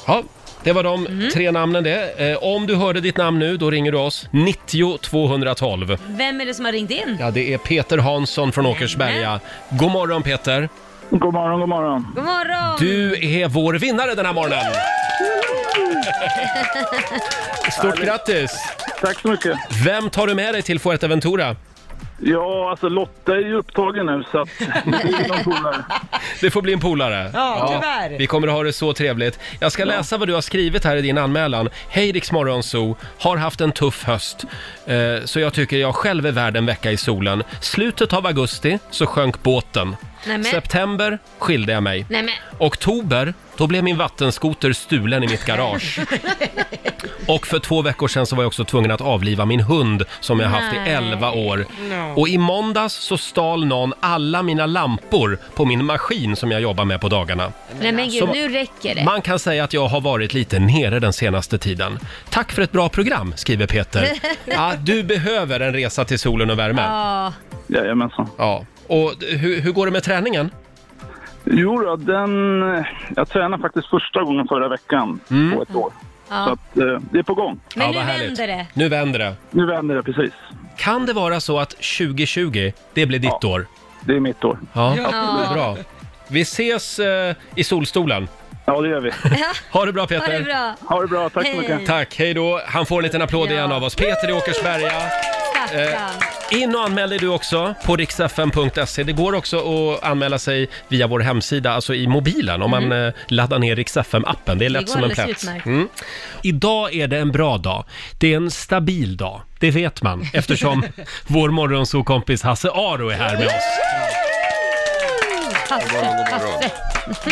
S1: Ja, det var de
S2: Mm.
S1: tre namnen det. Eh, om du hörde ditt namn nu, då ringer du oss. 90 212.
S2: Vem är det som har ringt in?
S1: Ja, det är Peter Hansson från Åkersberga. God morgon Peter!
S5: God morgon, god morgon.
S2: God morgon!
S1: Du är vår vinnare den här morgonen! Stort grattis!
S5: Tack så mycket.
S1: Vem tar du med dig till Fuerteventura?
S5: Ja, alltså Lotta är ju upptagen nu så att det blir någon polare.
S1: Det får bli en polare.
S3: Ja, tyvärr.
S1: Vi kommer att ha det så trevligt. Jag ska läsa vad du har skrivit här i din anmälan. Hej Rix Morgonzoo, har haft en tuff höst. Eh, så jag tycker jag själv är värd en vecka i solen. Slutet av augusti så sjönk båten.
S2: Nämen.
S1: September skilde jag mig.
S2: Nej men,
S1: Oktober, då blev min vattenskoter stulen i mitt garage. Och för två veckor sedan så var jag också tvungen att avliva min hund som jag haft i
S2: Nej.
S1: 11 år. Och i måndags så stal någon alla mina lampor på min maskin som jag jobbar med på dagarna.
S2: nej, men gud,
S1: Så-
S2: nu räcker det.
S1: Man kan säga att jag har varit lite nere den senaste tiden. Tack för ett bra program, skriver Peter. Ja, du behöver en resa till solen och värme.
S2: Ja,
S5: Jajamensan.
S1: Ja. Och d- hur, hur går det med träningen?
S5: Jo då, den... Jag tränade faktiskt första gången förra veckan på ett år. Så
S2: ja.
S5: att, eh, det är på gång.
S2: Men
S1: Mm. ja,
S2: nu
S1: vad härligt.
S2: vänder det.
S1: Nu vänder det.
S5: Nu vänder det precis.
S1: Kan det vara så att 2020, det blir ditt
S5: Ja.
S1: år?
S5: Det är mitt år.
S1: Ja,
S2: Ja.
S1: bra. Vi ses eh, i solstolen.
S5: Ja, det gör vi.
S1: Ha det bra
S2: Ha det
S1: Peter!
S2: bra.
S5: Ha det bra, tack så mycket.
S2: Hej.
S1: Tack, hej då. Han får en liten applåd
S2: Ja.
S1: igen av oss. Peter i Åkersberga. Eh,
S2: Stackarn.
S1: In och anmäl dig du också på riksfm.se. Det går också att anmäla sig via vår hemsida, alltså i mobilen, om man eh, laddar ner riksfm-appen. Det är lätt
S2: Mhm. går
S1: som en
S2: alldeles
S1: plats.
S2: utmärkt.
S1: Mm. Idag är det en bra dag. Det är en stabil dag. Det vet man eftersom vår morgonsåkompis Hasse Aro är här med oss.
S2: Hasse, Hasse.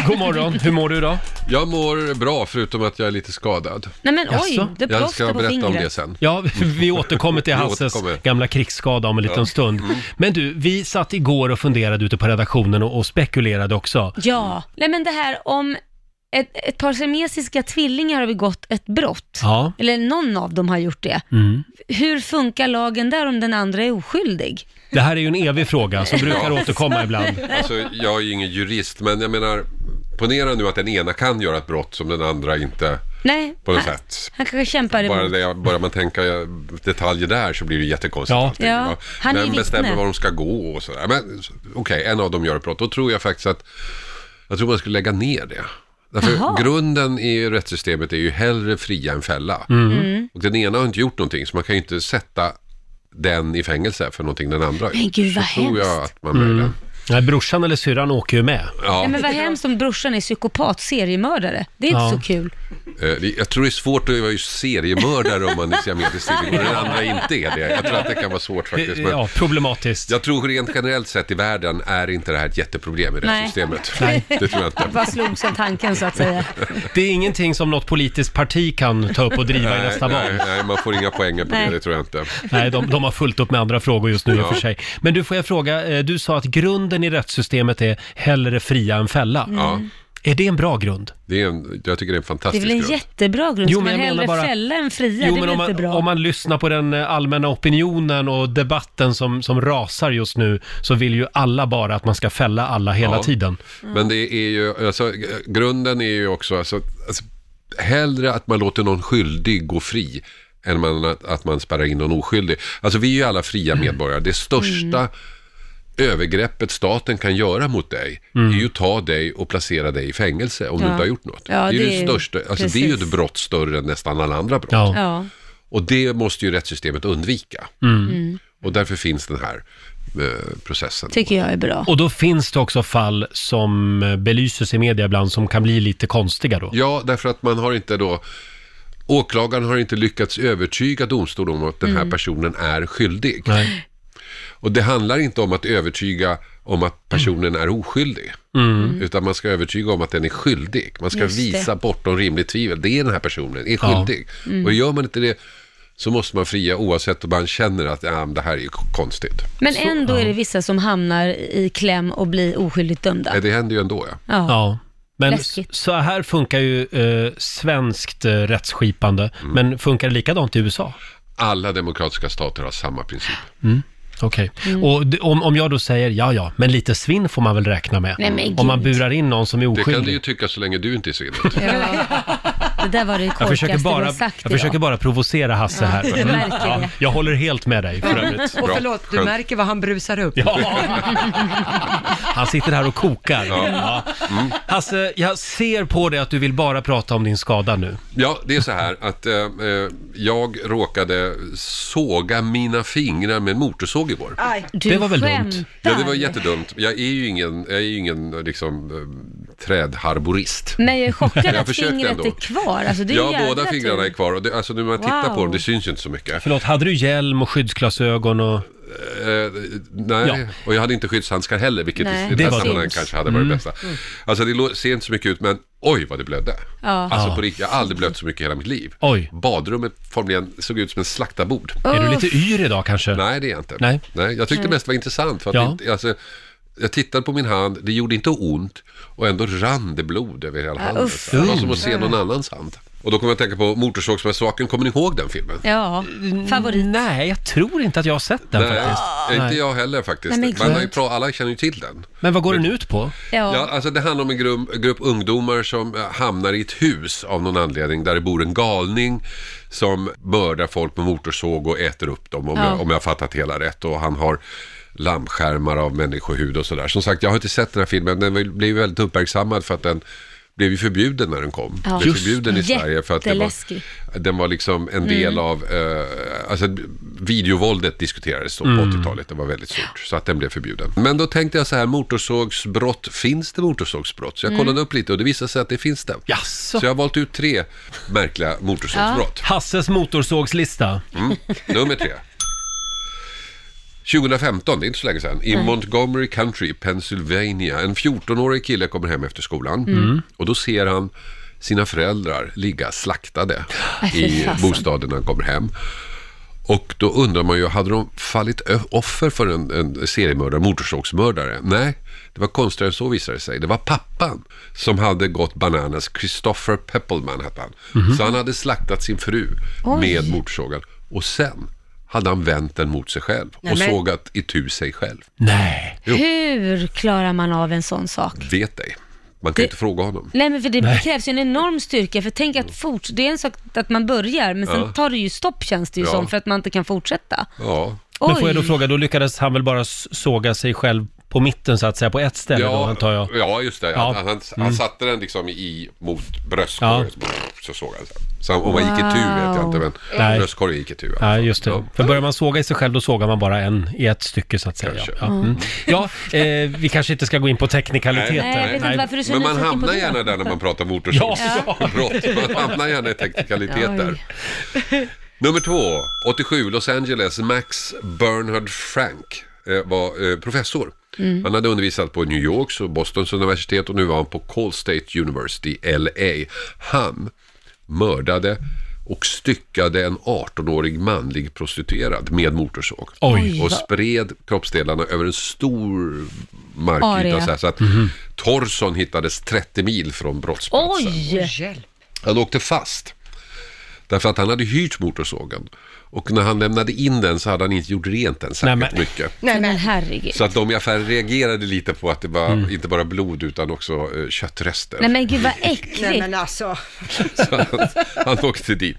S1: God morgon, hur mår du idag?
S10: Jag mår bra förutom att jag är lite skadad.
S2: Nej men oj,
S1: Jaså?
S10: Jag
S2: det
S10: ska
S2: plåster på
S10: berätta om det
S2: fingret.
S10: sen.
S1: Ja, vi återkommer till
S10: Vi
S1: Hasses
S10: återkommer. Mm.
S1: gamla krigsskada om en liten stund. Men du, vi satt igår och funderade ute på redaktionen och, och spekulerade också.
S2: Ja, nej men det här om ett, ett par siamesiska tvillingar har begått ett brott.
S1: Ja. Mm.
S2: Eller någon av dem har gjort det. Hur funkar lagen där om den andra är oskyldig?
S1: Det här är ju en evig fråga som brukar återkomma ibland.
S10: Alltså, jag är ju ingen jurist, men jag menar, ponera nu att den ena kan göra ett brott som den andra inte
S2: Nej,
S10: på något
S2: han,
S10: sätt.
S2: han kanske kämpar
S10: Bara
S2: emot.
S10: det, börjar man tänka detaljer där så blir det jättekonstigt.
S1: Ja.
S10: allting,
S2: Ja,
S10: va?
S2: han är
S10: Vem
S2: vittne.
S10: bestämmer var de ska gå och sådär. Men okej, en av dem gör ett brott. Då tror jag faktiskt att, jag tror man skulle lägga ner det. Därför
S2: Jaha.
S10: grunden i rättssystemet är ju hellre fria än fälla.
S2: Mm.
S10: Och den ena har inte gjort någonting, så man kan ju inte sätta den i fängelse för någonting den andra har
S2: Men
S10: gjort.
S2: gud, vad
S10: så tror jag
S2: hemskt. Mm.
S10: att man möjligen...
S1: Mm. Nej, brorsan eller syrran åker ju med.
S10: Ja,
S2: Nej, men vad hemskt om brorsan är psykopat, seriemördare. Det är inte
S1: Ja.
S2: så kul.
S10: eh, det- jag tror det är svårt att vara ju seriemördare om man liksom är siamesisk tvilling och den andra inte är det. Jag tror att det kan vara svårt faktiskt. Men...
S1: Ja, problematiskt.
S10: Jag tror rent generellt sett i världen är inte det här ett jätteproblem i
S2: Nej.
S10: rättssystemet. Det tror jag inte.
S2: Bara slogs av tanken så att säga.
S1: Det är ingenting som något politiskt parti kan ta upp och driva i nästa
S10: nej,
S1: val.
S10: nej, man får inga poänger på
S2: Nej.
S10: det, det tror jag inte.
S1: Nej, de, de har fullt upp med andra frågor just nu i och för sig. Men du, får jag fråga, eh, du sa att grunden i rättssystemet är hellre fria än fälla.
S10: Ja, Mm.
S1: Är det en bra grund?
S10: det är en, jag tycker det är en
S2: Det är
S10: fantastisk
S2: väl en
S10: grund.
S2: jättebra grund.
S1: Jo,
S2: Ska
S1: men
S2: man
S1: jag menar
S2: hellre
S1: bara-
S2: fälla än fria? det är väl
S1: om
S2: inte
S1: man,
S2: bra?
S1: om man lyssnar på den eh, allmänna opinionen och debatten som, som rasar just nu så vill ju alla bara att man ska fälla alla hela
S10: Ja. Mm.
S1: tiden.
S10: Men det är ju, alltså, g- grunden är ju också, alltså, alltså, hellre att man låter någon skyldig gå fri än man, att, att man spärrar in någon oskyldig. Alltså vi är ju alla fria medborgare. Det största övergreppet staten kan göra mot dig
S11: Mm.
S10: är ju att ta dig och placera dig i fängelse om du
S11: Ja.
S10: inte har gjort något.
S11: Ja,
S10: det, är ju
S11: det
S10: det,
S11: är-
S10: största, alltså, det är ju ett
S11: precis.
S10: brott större än nästan alla andra brott.
S11: Ja. Ja.
S10: Och det måste ju rättssystemet undvika.
S2: Mm.
S10: Och därför finns den här eh, processen.
S2: Tycker jag är bra.
S1: Och då finns det också fall som eh, belyses i media ibland som kan bli lite konstiga då.
S10: Ja, därför att man har inte då... Åklagaren har inte lyckats övertyga domstolen om att den här
S1: Mm.
S10: personen är skyldig.
S1: Nej.
S10: Och det handlar inte om att övertyga om att personen är oskyldig.
S1: Mm.
S10: Utan man ska övertyga om att den är skyldig. Man ska
S11: Just det.
S10: visa bortom rimligt tvivel. Det är den här personen, är
S11: Ja.
S10: skyldig.
S11: Mm.
S10: Och gör man inte det så måste man fria oavsett om man känner att ja, men det här är ju konstigt.
S2: Men ändå är det vissa som hamnar i kläm och blir oskyldigt dömda.
S10: Nej, det händer ju ändå ja.
S2: Ja.
S1: Men s-
S2: Läskigt.
S1: så här funkar ju eh, svenskt eh, rättsskipande,
S10: Mm.
S1: men funkar det likadant i USA?
S10: Alla demokratiska stater har samma princip.
S1: Mm. Okej, och d- om, om jag då säger ja, ja, men lite svinn får man väl räkna med?
S2: Nej, men
S1: om man
S2: gud.
S1: burar in någon som är
S10: Det kan du
S1: oskyldig.
S10: ju tycka så länge du inte är svinnet.
S2: Det där var det
S1: Jag
S2: korkaste
S1: försöker,
S2: du
S1: bara,
S2: har sagt
S1: jag försöker bara provocera Hasse
S2: Ja,
S1: här. Mm.
S2: jag märker det.
S1: jag håller helt med dig för övrigt.
S3: Och förlåt, du märker vad han brusar upp.
S1: Han sitter här och kokar. Ja. Hasse, jag ser på dig att du vill bara prata om din skada nu.
S10: Ja, det är så här att eh, eh, jag råkade såga mina fingrar med en motorsåg igår.
S2: Aj. Du Det var väl dumt? skämtar.
S10: Ja, det var jättedumt. Jag är ju ingen, jag är ju ingen liksom, eh, trädharborist.
S2: Men jag är chockad
S10: Jag
S2: att
S10: försökte
S2: fingret
S10: ändå.
S2: är kvar. Alltså, det är
S10: ja,
S2: jävla
S10: båda
S2: tur.
S10: fingrarna är kvar. Och det, alltså, när man tittar
S2: Wow.
S10: på dem, det syns ju inte så mycket.
S1: Förlåt, hade du hjälm och skyddsglasögon och...
S10: Eh, nej,
S1: Ja.
S10: och jag hade inte skyddshandskar heller, vilket
S2: Nej.
S10: i
S1: Det
S10: det här
S1: var
S10: sammanhanget
S1: dumt.
S10: kanske hade varit
S1: Mm.
S10: bästa. Alltså det lå- ser inte så mycket ut, men oj vad det blödde.
S2: Ja.
S10: Alltså
S2: Ja.
S10: på riktigt, jag har aldrig blött så mycket i hela mitt liv.
S1: Oj.
S10: Badrummet formligen såg ut som en slaktarbord.
S1: Är du lite yr idag kanske?
S10: Nej, det är jag inte.
S1: Nej.
S10: jag tyckte
S1: Nej.
S10: mest det var intressant. För att
S1: Ja.
S10: det, alltså, jag tittade på min hand, det gjorde inte ont och ändå rann det blod över hela
S2: Ah,
S10: handen.
S2: uff.
S10: det var som att se
S2: Mm.
S10: någon annans hand. Och då kommer jag att tänka på Motorsågsmassaken, kommer ni ihåg den filmen?
S2: Ja, favorit.
S1: Nej, jag tror inte att jag har sett den faktiskt.
S10: inte
S1: Nej.
S10: jag heller faktiskt.
S2: Nej, men
S10: men man är
S1: gud.
S10: pra- alla känner ju till den.
S1: Men vad går den ut på?
S10: Ja.
S2: Ja.
S10: alltså det handlar om en grupp, grupp ungdomar som eh, hamnar i ett hus av någon anledning där det bor en galning som mördar folk med motorsåg och äter upp dem om,
S11: Ja.
S10: jag, om jag har fattat hela rätt. Och han har lammskärmar av människohud och sådär. Som sagt, jag har inte sett den här filmen. Den blev ju väldigt uppmärksammad för att den blev ju förbjuden när den kom.
S2: Ja.
S10: Den blev
S2: Just
S10: förbjuden i
S2: det.
S10: Sverige för att det var,
S2: Jätteläskig.
S10: den var liksom en del
S2: Mm.
S10: av, eh, alltså videovåldet diskuterades då på
S11: Mm.
S10: 80-talet, det var väldigt stort, så att den blev förbjuden. Men då tänkte jag så här, motorsågsbrott, finns det motorsågsbrott? Så jag
S1: Mm.
S10: kollade upp lite och det visade sig att det finns det.
S1: Jaså.
S10: Så jag har valt ut tre märkliga motorsågsbrott.
S1: Hasses motorsågslista.
S10: Mm. Nummer tre. 2015, det är inte så länge sedan, i
S1: Nej.
S10: Montgomery County, Pennsylvania. En 14-årig kille kommer hem efter skolan
S11: Mm.
S10: och då ser han sina föräldrar ligga slaktade
S11: Äh, fy
S10: i
S11: fasen.
S10: bostaden när han kommer hem. Och då undrar man ju, hade de fallit ö- offer för en, en seriemördare, motorsågsmördare? Nej, det var konstigare än så visade det sig. Det var pappan som hade gått bananas, Christopher Peppelman hette han.
S11: Mhm.
S10: Så han hade slaktat sin fru
S11: Oj.
S10: med motorsågen. Och sen hade han vänt den mot sig själv
S2: Nej,
S10: och
S2: men-
S10: sågat itu sig själv.
S1: Nej.
S10: Jo,
S2: Hur klarar man av en sån sak?
S10: vet dig. Man kan ju inte fråga honom.
S2: Nej men för det
S10: Nej.
S2: krävs ju en enorm styrka, för tänk att fort, det är en sak att man börjar, men sen
S1: Ja.
S2: tar det ju stopp känns det ju
S1: Ja.
S2: som, för att man inte kan fortsätta.
S10: Ja.
S1: Men får jag då
S2: Oj.
S1: fråga, då lyckades han väl bara s- såga sig själv på mitten så att säga, på ett ställe då antar jag?
S10: ja, just det.
S1: Ja.
S10: Han, han, han
S1: Mm.
S10: satte den liksom i, mot bröstkorgen. Så såg han. Så om
S1: Wow.
S10: han gick itu vet jag inte, men
S1: Nej.
S10: bröstkorgen gick alltså. itu. Ja.
S1: Ja, just det. För börjar man såga i sig själv, då sågar man bara en i ett stycke så att säga. Ja, mm. ja eh, vi kanske inte ska gå in på teknikaliteter.
S2: Nej, jag vet inte varför du är så
S10: Men man
S2: nyfiken på
S10: hamnar
S2: det.
S10: gärna där när man pratar motorsågsbrott.
S2: Ja.
S10: Man hamnar gärna i teknikaliteter. Nummer två, 87, Los Angeles, Max Bernhard Frank eh, var eh, professor.
S11: Mm.
S10: Han hade undervisat på New Yorks och Bostons universitet och nu var han på Call State University, LA. Han mördade och styckade en 18-årig manlig prostituerad med motorsåg.
S11: Oj.
S10: Och spred kroppsdelarna över en stor markyta.
S11: Area.
S10: Så, här, så att
S2: Mhm.
S10: Torson hittades 30 mil från brottsplatsen.
S2: Oj!
S10: Han åkte fast. Därför att han hade hyrt motorsågen. Och när han lämnade in den så hade han inte gjort rent den särskilt mycket.
S2: Nej men herregud.
S10: Så att de i affären reagerade lite på att det var
S2: Mm.
S10: inte bara blod utan också eh, köttrester.
S2: Nej men gud vad äckligt.
S3: Nej, men alltså.
S10: Så han, han åkte dit.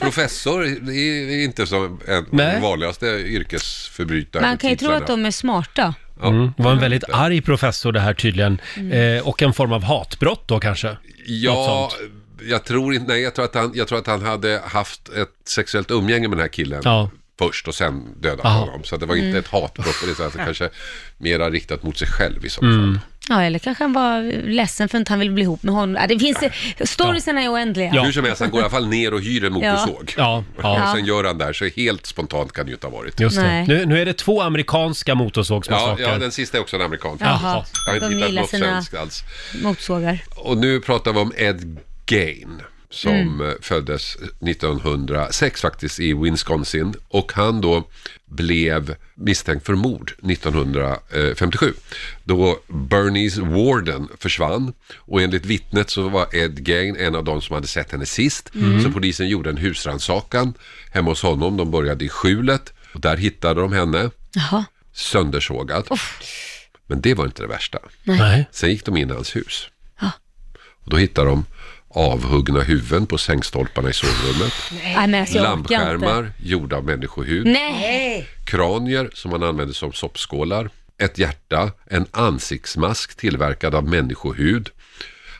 S10: Professor är- är inte som en
S1: Nej.
S10: vanligaste yrkesförbrytare.
S2: Man kan ju tro
S10: titlarna.
S2: att de är smarta.
S1: Mm. Det var en väldigt arg professor det här tydligen.
S10: Mm.
S1: Eh, och en form av hatbrott då kanske? Något
S10: Ja,
S1: sånt.
S10: jag tror inte, nej jag tror, att han, jag tror att han hade haft ett sexuellt umgänge med den här killen
S1: Ja.
S10: först och sen dödat
S1: Aha.
S10: honom. Så att det var inte
S2: Mm.
S10: ett hatbrott på det sättet, kanske mera riktat mot sig själv i så fall.
S1: Mm.
S2: Ja, eller kanske han var ledsen för att han ville bli ihop med honom. Ja, Det finns, storiesen är oändliga.
S10: Hur som helst, han går i alla fall ner och hyr en motorsåg.
S1: Ja. Ja.
S10: Och sen gör han det här, så helt spontant kan det ju inte ha varit.
S1: Just det.
S2: Nej.
S1: Nu, nu är det två amerikanska
S10: Ja,
S1: motorsågsmassakrer.
S10: ja, den sista är också en amerikan.
S2: Jaha,
S10: Jag har inte
S2: de
S10: hittat
S2: gillar
S10: något
S2: sina-
S10: svenskt alls.
S2: Motorsågar.
S10: Och nu pratar vi om Ed Gain som
S2: Mm.
S10: eh, föddes 1906 faktiskt i Wisconsin och han då blev misstänkt för mord 1957 då Bernice Warden försvann och enligt vittnet så var Ed Gain en av de som hade sett henne sist
S9: Mm.
S10: så polisen gjorde en husrannsakan hemma hos honom, de började i skjulet och där hittade de henne
S2: Jaha.
S10: söndersågad. Men det var inte det värsta.
S1: Nej.
S10: Sen gick de in i hans hus. Och då hittade de avhuggna huvuden på sängstolparna i sovrummet.
S2: Nej, men alltså, jag orkar inte.
S10: Lampskärmar gjorda av människohud.
S2: Nej.
S10: Kranier som man använde som soppskålar. Ett hjärta. En ansiktsmask tillverkad av människohud.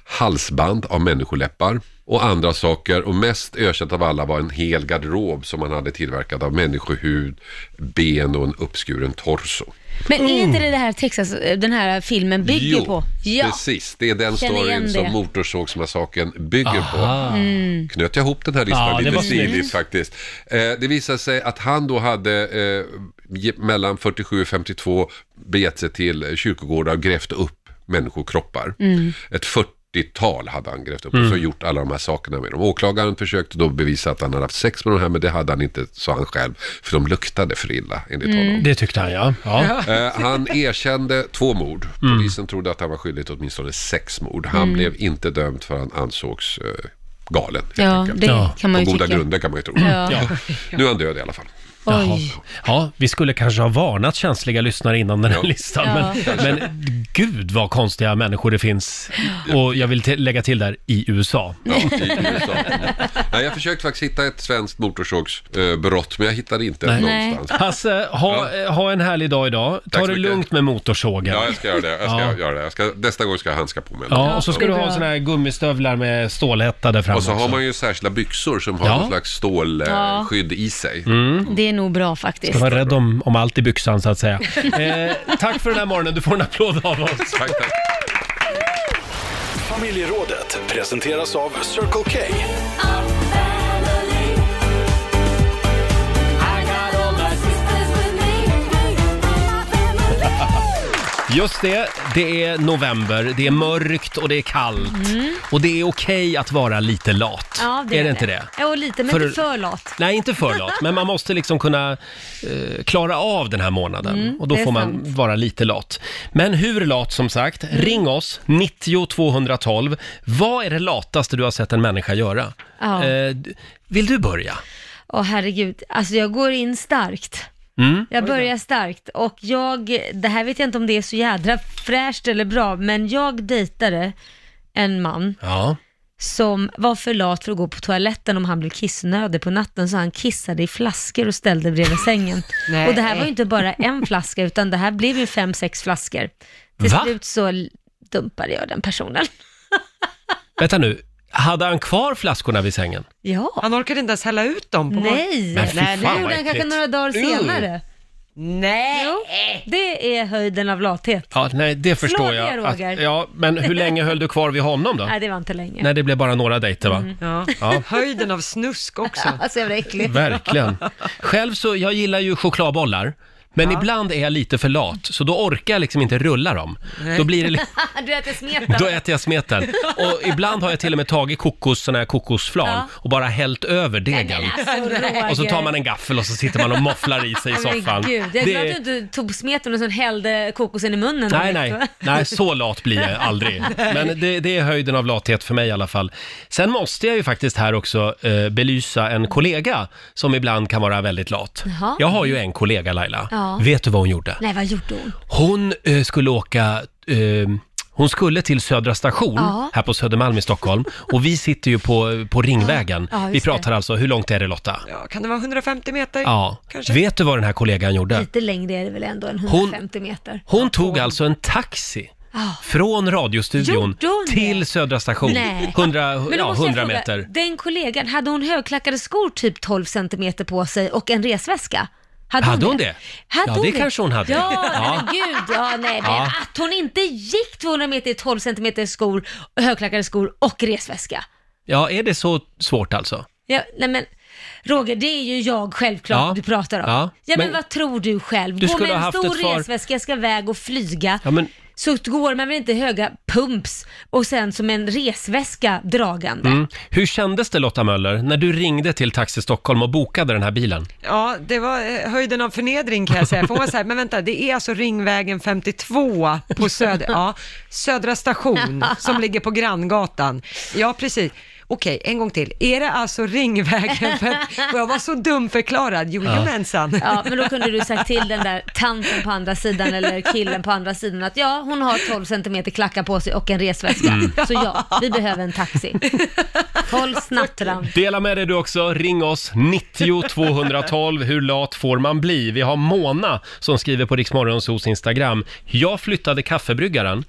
S10: Halsband av människoläppar. Och andra saker. Och mest ökänt av alla var en hel garderob som man hade tillverkad av människohud, ben och en uppskuren torso.
S2: Men är inte
S1: Mm.
S2: det det här Texas, den här filmen bygger
S10: Jo,
S2: på? Ja.
S10: Precis, det är den
S2: Känner igen
S10: storyn
S2: det.
S10: som Motorsågsmassakern bygger på.
S2: Mm.
S10: Knöt jag ihop den här listan
S1: Ja, det
S10: lite
S1: var snyggt.
S10: stiligt faktiskt. Eh, det visade sig att han då hade eh, ge- mellan 47 och 52 begett sig till kyrkogårdar och grävt upp människokroppar.
S9: Mm.
S10: Ett 40-tal hade han grävt upp
S9: Mm.
S10: och så gjort alla de här sakerna med dem. Åklagaren försökte då bevisa att han hade haft sex med de här, men det hade han inte, sa han själv, för de luktade för illa enligt
S1: Mm.
S10: honom.
S1: Det tyckte han ja. ja. Mm.
S10: Eh, han erkände två mord. Polisen trodde att han var skyldig till åtminstone sex mord. Han
S2: Mm.
S10: blev inte dömd för han ansågs eh, galen. helt
S2: Ja,
S10: enkelt.
S2: det Ja. kan man ju
S10: På goda
S2: tycka.
S10: grunder kan man ju tro.
S2: Ja. Ja.
S10: Nu är han död i alla fall.
S1: Jaha.
S2: Oj.
S1: Ja, vi skulle kanske ha varnat känsliga lyssnare innan den här
S10: Ja.
S1: listan.
S2: Ja.
S1: Men, men gud vad konstiga människor det finns. Och jag vill till- lägga till där, i USA.
S10: Ja, i USA. Nej, jag försökte faktiskt hitta ett svenskt motorsågsbrott, men jag hittade inte någonstans.
S1: Hasse, ha, eh, ha en härlig dag idag. Ta
S10: Tack så
S1: det
S10: mycket.
S1: lugnt med motorsågen.
S10: Ja, jag ska göra det. Jag ska
S1: Ja.
S10: göra det. Jag ska, nästa gång ska jag handska på mig.
S1: Ja, och så ska
S10: Ja.
S1: du ha såna här gummistövlar med stålhätta där framme
S10: Och så har
S1: också.
S10: man ju särskilda byxor som har
S1: Ja.
S10: någon slags
S2: Ja.
S10: stålskydd i sig.
S2: Det är nog bra faktiskt.
S1: Mm. Ska vara rädd om, om allt i byxan så att säga. Eh, tack för den här morgonen, du får en applåd av oss.
S9: Familjerådet presenteras av Circle K.
S1: Just det, det är november, det är mörkt och det är kallt. Och det är okej att vara lite lat.
S2: Mm. Ja, det
S1: är
S2: är
S1: det inte det?
S2: Jo, lite, men
S1: För-
S2: inte för lat.
S1: Nej, inte för lat, men man måste liksom kunna eh, klara av den här månaden.
S2: Mm,
S1: och då
S2: det är
S1: får man
S2: sant. Mm.
S1: vara lite lat. Men hur lat som sagt, ring oss, 90 212. Vad är det lataste du har sett en människa göra?
S2: Ja.
S1: Eh, d- vill du börja?
S2: Åh herregud, alltså jag går in starkt.
S1: Mm.
S2: Jag börjar starkt och jag, det här vet jag inte om det är så jädra fräscht eller bra, men jag dejtade en man
S1: Ja.
S2: som var för lat för att gå på toaletten om han blev kissnödig på natten så han kissade i flaskor och ställde bredvid sängen.
S3: Nej.
S2: Och det här var ju inte bara en flaska utan det här blev ju fem, sex flaskor. Till
S1: Va?
S2: slut så l- dumpade jag den personen.
S1: Vänta nu, hade han kvar flaskorna vid sängen?
S2: Ja.
S3: Han orkade inte ens hälla ut dem på
S2: Nej,
S1: Men fy
S2: Nej,
S1: fan,
S2: det
S1: vad
S2: gjorde han kanske
S1: äckligt.
S2: några dagar
S1: Ew.
S2: senare.
S3: Nej!
S2: Jo, det är höjden av lathet.
S1: Ja, nej, det
S2: Slå
S1: förstår
S2: ner,
S1: jag.
S2: Roger.
S1: ja, men hur länge höll du kvar vid honom då?
S2: Nej, det Mm. var inte länge.
S1: Nej, det blev bara några dejter va?
S3: Ja.
S1: Ja.
S3: Höjden av snusk också.
S2: Alltså, jag var äcklig.
S1: Verkligen. Själv så, jag gillar ju chokladbollar. Men ibland är jag lite för lat, så då orkar jag liksom inte rulla dem. Då, blir det, li-
S2: du äter smeten.
S1: då äter jag smeten. Och ibland har jag till och med tagit kokos, såna här kokosflan
S2: Ja. alltså,
S1: och bara hällt över degen.
S2: Roger.
S1: Och så tar man en gaffel och så sitter man och mofflar i sig i
S2: Men
S1: soffan.
S2: Gud, jag är
S1: Det
S2: glad
S1: är-
S2: att du inte tog smeten och sen hällde kokosen i munnen.
S1: Nej,
S2: direkt,
S1: nej,
S2: va?
S1: nej, så lat blir jag aldrig. Men det, det är höjden av lathet för mig i alla fall. Sen måste jag ju faktiskt här också eh, belysa en kollega som ibland kan vara väldigt lat.
S2: Jaha.
S1: Jag har ju en kollega, Laila.
S2: Ja.
S1: Vet du vad hon gjorde?
S2: Nej, vad gjorde hon?
S1: Hon eh, skulle åka... Eh, Hon skulle till Södra station
S2: Ja.
S1: här på Södermalm i Stockholm och vi sitter ju på, på Ringvägen.
S3: Ja, just
S1: vi pratar
S3: det.
S1: alltså, hur långt är det Lotta?
S3: Ja, Kan det vara 150 meter?
S1: Ja.
S3: Kanske.
S1: Vet du vad den här kollegan gjorde?
S2: Lite längre är det väl ändå än
S1: Hon-
S2: 150 meter.
S1: Hon tog alltså en taxi
S2: Ah.
S1: från radiostudion
S2: Gjorde hon det?
S1: till Södra station.
S2: Nej.
S1: 100,
S2: Men då
S1: ja,
S2: måste jag
S1: 100
S2: fråga,
S1: meter.
S2: Den kollegan, hade hon högklackade skor typ 12 centimeter på sig och en resväska? Hade,
S1: Hade hon det?
S2: Hade
S1: Ja, det kanske hon hade.
S2: Ja,
S1: Ja.
S2: men gud. Ja, nej, men
S1: Ja.
S2: att hon inte gick 200 meter i 12 centimeter skor, högklackade skor och resväska.
S1: Ja, är det så svårt alltså?
S2: Ja, nej men, Roger, det är ju jag självklart
S1: Ja.
S2: du pratar om.
S1: Ja,
S2: Ja, men,
S1: men-
S2: vad tror du själv?
S1: Du
S2: Gå
S1: skulle
S2: med
S1: ha
S2: en
S1: haft
S2: stor
S1: ett par-
S2: resväska, ska iväg och flyga.
S1: Ja, men,
S2: Så går man väl inte i höga pumps och sen som en resväska dragande.
S1: mm. Hur kändes det Lotta Möller när du ringde till Taxi Stockholm och bokade den här bilen?
S3: Ja, det var eh, höjden av förnedring kan jag säga. För hon var så här, men vänta, det är alltså Ringvägen 52 på söd ja, Södra station som ligger på Granngatan. Ja, precis. Okej, en gång till. Är det alltså Ringvägen 50? Och Jag var så dumförklarad. Jojomensan.
S2: Ja, men då kunde du sagt till den där tanten på andra sidan eller killen på andra sidan att ja, hon har 12 centimeter klackar på sig och en resväska.
S1: Mm.
S2: Så ja, vi behöver en taxi. Håll snattran.
S1: Dela med dig du också. Ring oss 90 212. Hur lat får man bli? Vi har Mona som skriver på Riksmorgonsos Instagram. Jag flyttade kaffebryggaren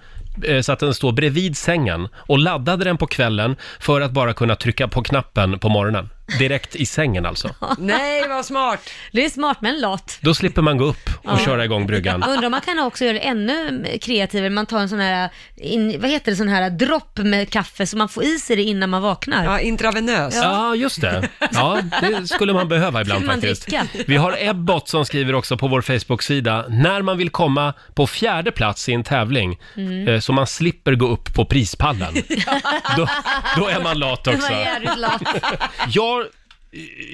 S1: eh, så att den står bredvid sängen och laddade den på kvällen för att bara kunna trycka på knappen på morgonen. Direkt i sängen alltså.
S3: Nej, vad smart.
S2: Det är smart men lat.
S1: Då slipper man gå upp och
S2: Ja.
S1: köra igång bryggan.
S2: Undrar om man kan också göra det ännu kreativare. Man tar en sån här, in, vad heter det, sån här dropp med kaffe så man får i sig det innan man vaknar.
S3: Ja, intravenös.
S1: Ja, just det. Ja, det skulle man behöva ibland
S2: Skulle man
S1: faktiskt.
S2: dricka?
S1: Vi har Ebbot som skriver också på vår Facebook-sida, när man vill komma på fjärde plats i en tävling,
S2: Mm.
S1: eh, så man slipper gå upp på prispallen. Då, då är man lat också.
S2: Man är jävligt lat.
S1: Jag eh,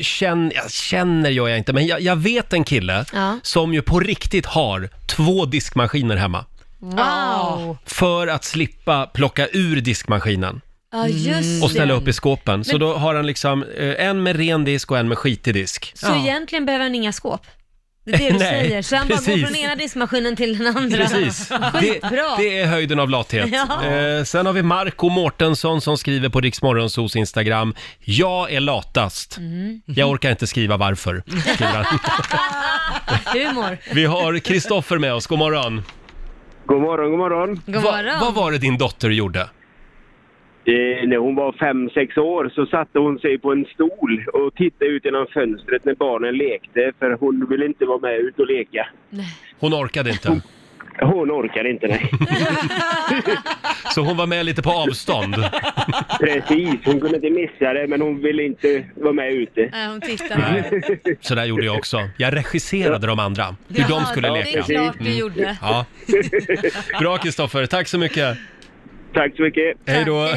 S1: känner, jag känner gör jag inte, men jag, jag vet en kille
S2: Ja.
S1: som ju på riktigt har två diskmaskiner hemma
S2: Wow.
S1: för att slippa plocka ur diskmaskinen.
S2: Ja, just
S1: och ställa
S2: det.
S1: upp i skåpen. Så
S2: Men-
S1: då har han liksom eh, en med ren disk och en med skitig disk.
S2: Så egentligen behöver han inga skåp? Det är det du
S1: Nej,
S2: säger. Så han bara går
S1: precis.
S2: från ena diskmaskinen till den andra.
S1: Precis. Det,
S2: Skitbra.
S1: det är höjden av lathet.
S2: Ja.
S1: Eh, sen har vi Marco Mårtensson som skriver på Riksmorgonsos Instagram. Jag är latast.
S2: Mm.
S1: Jag orkar inte skriva varför. skriver han.
S2: Humor.
S1: Vi har Kristoffer med oss. God morgon.
S11: God morgon, god morgon.
S2: God
S1: morgon. vad var det din dotter gjorde?
S11: Eh, när hon var fem sex år så satte hon sig på en stol och tittade ut genom fönstret när barnen lekte för hon ville inte vara med ut och leka.
S1: Hon orkade inte.
S11: Hon orkade inte, nej.
S1: Så hon var med lite på avstånd.
S11: Precis, hon kunde inte missa det men hon ville inte vara med ute.
S2: Nej, hon
S1: Nej. Så där gjorde jag också. Jag regisserade de andra, hur de
S2: Jaha,
S1: skulle
S2: det är
S1: leka. Mm.
S2: klart du gjorde.
S1: Ja. Bra Kristoffer, tack så mycket.
S11: Tack så mycket.
S1: Hej då.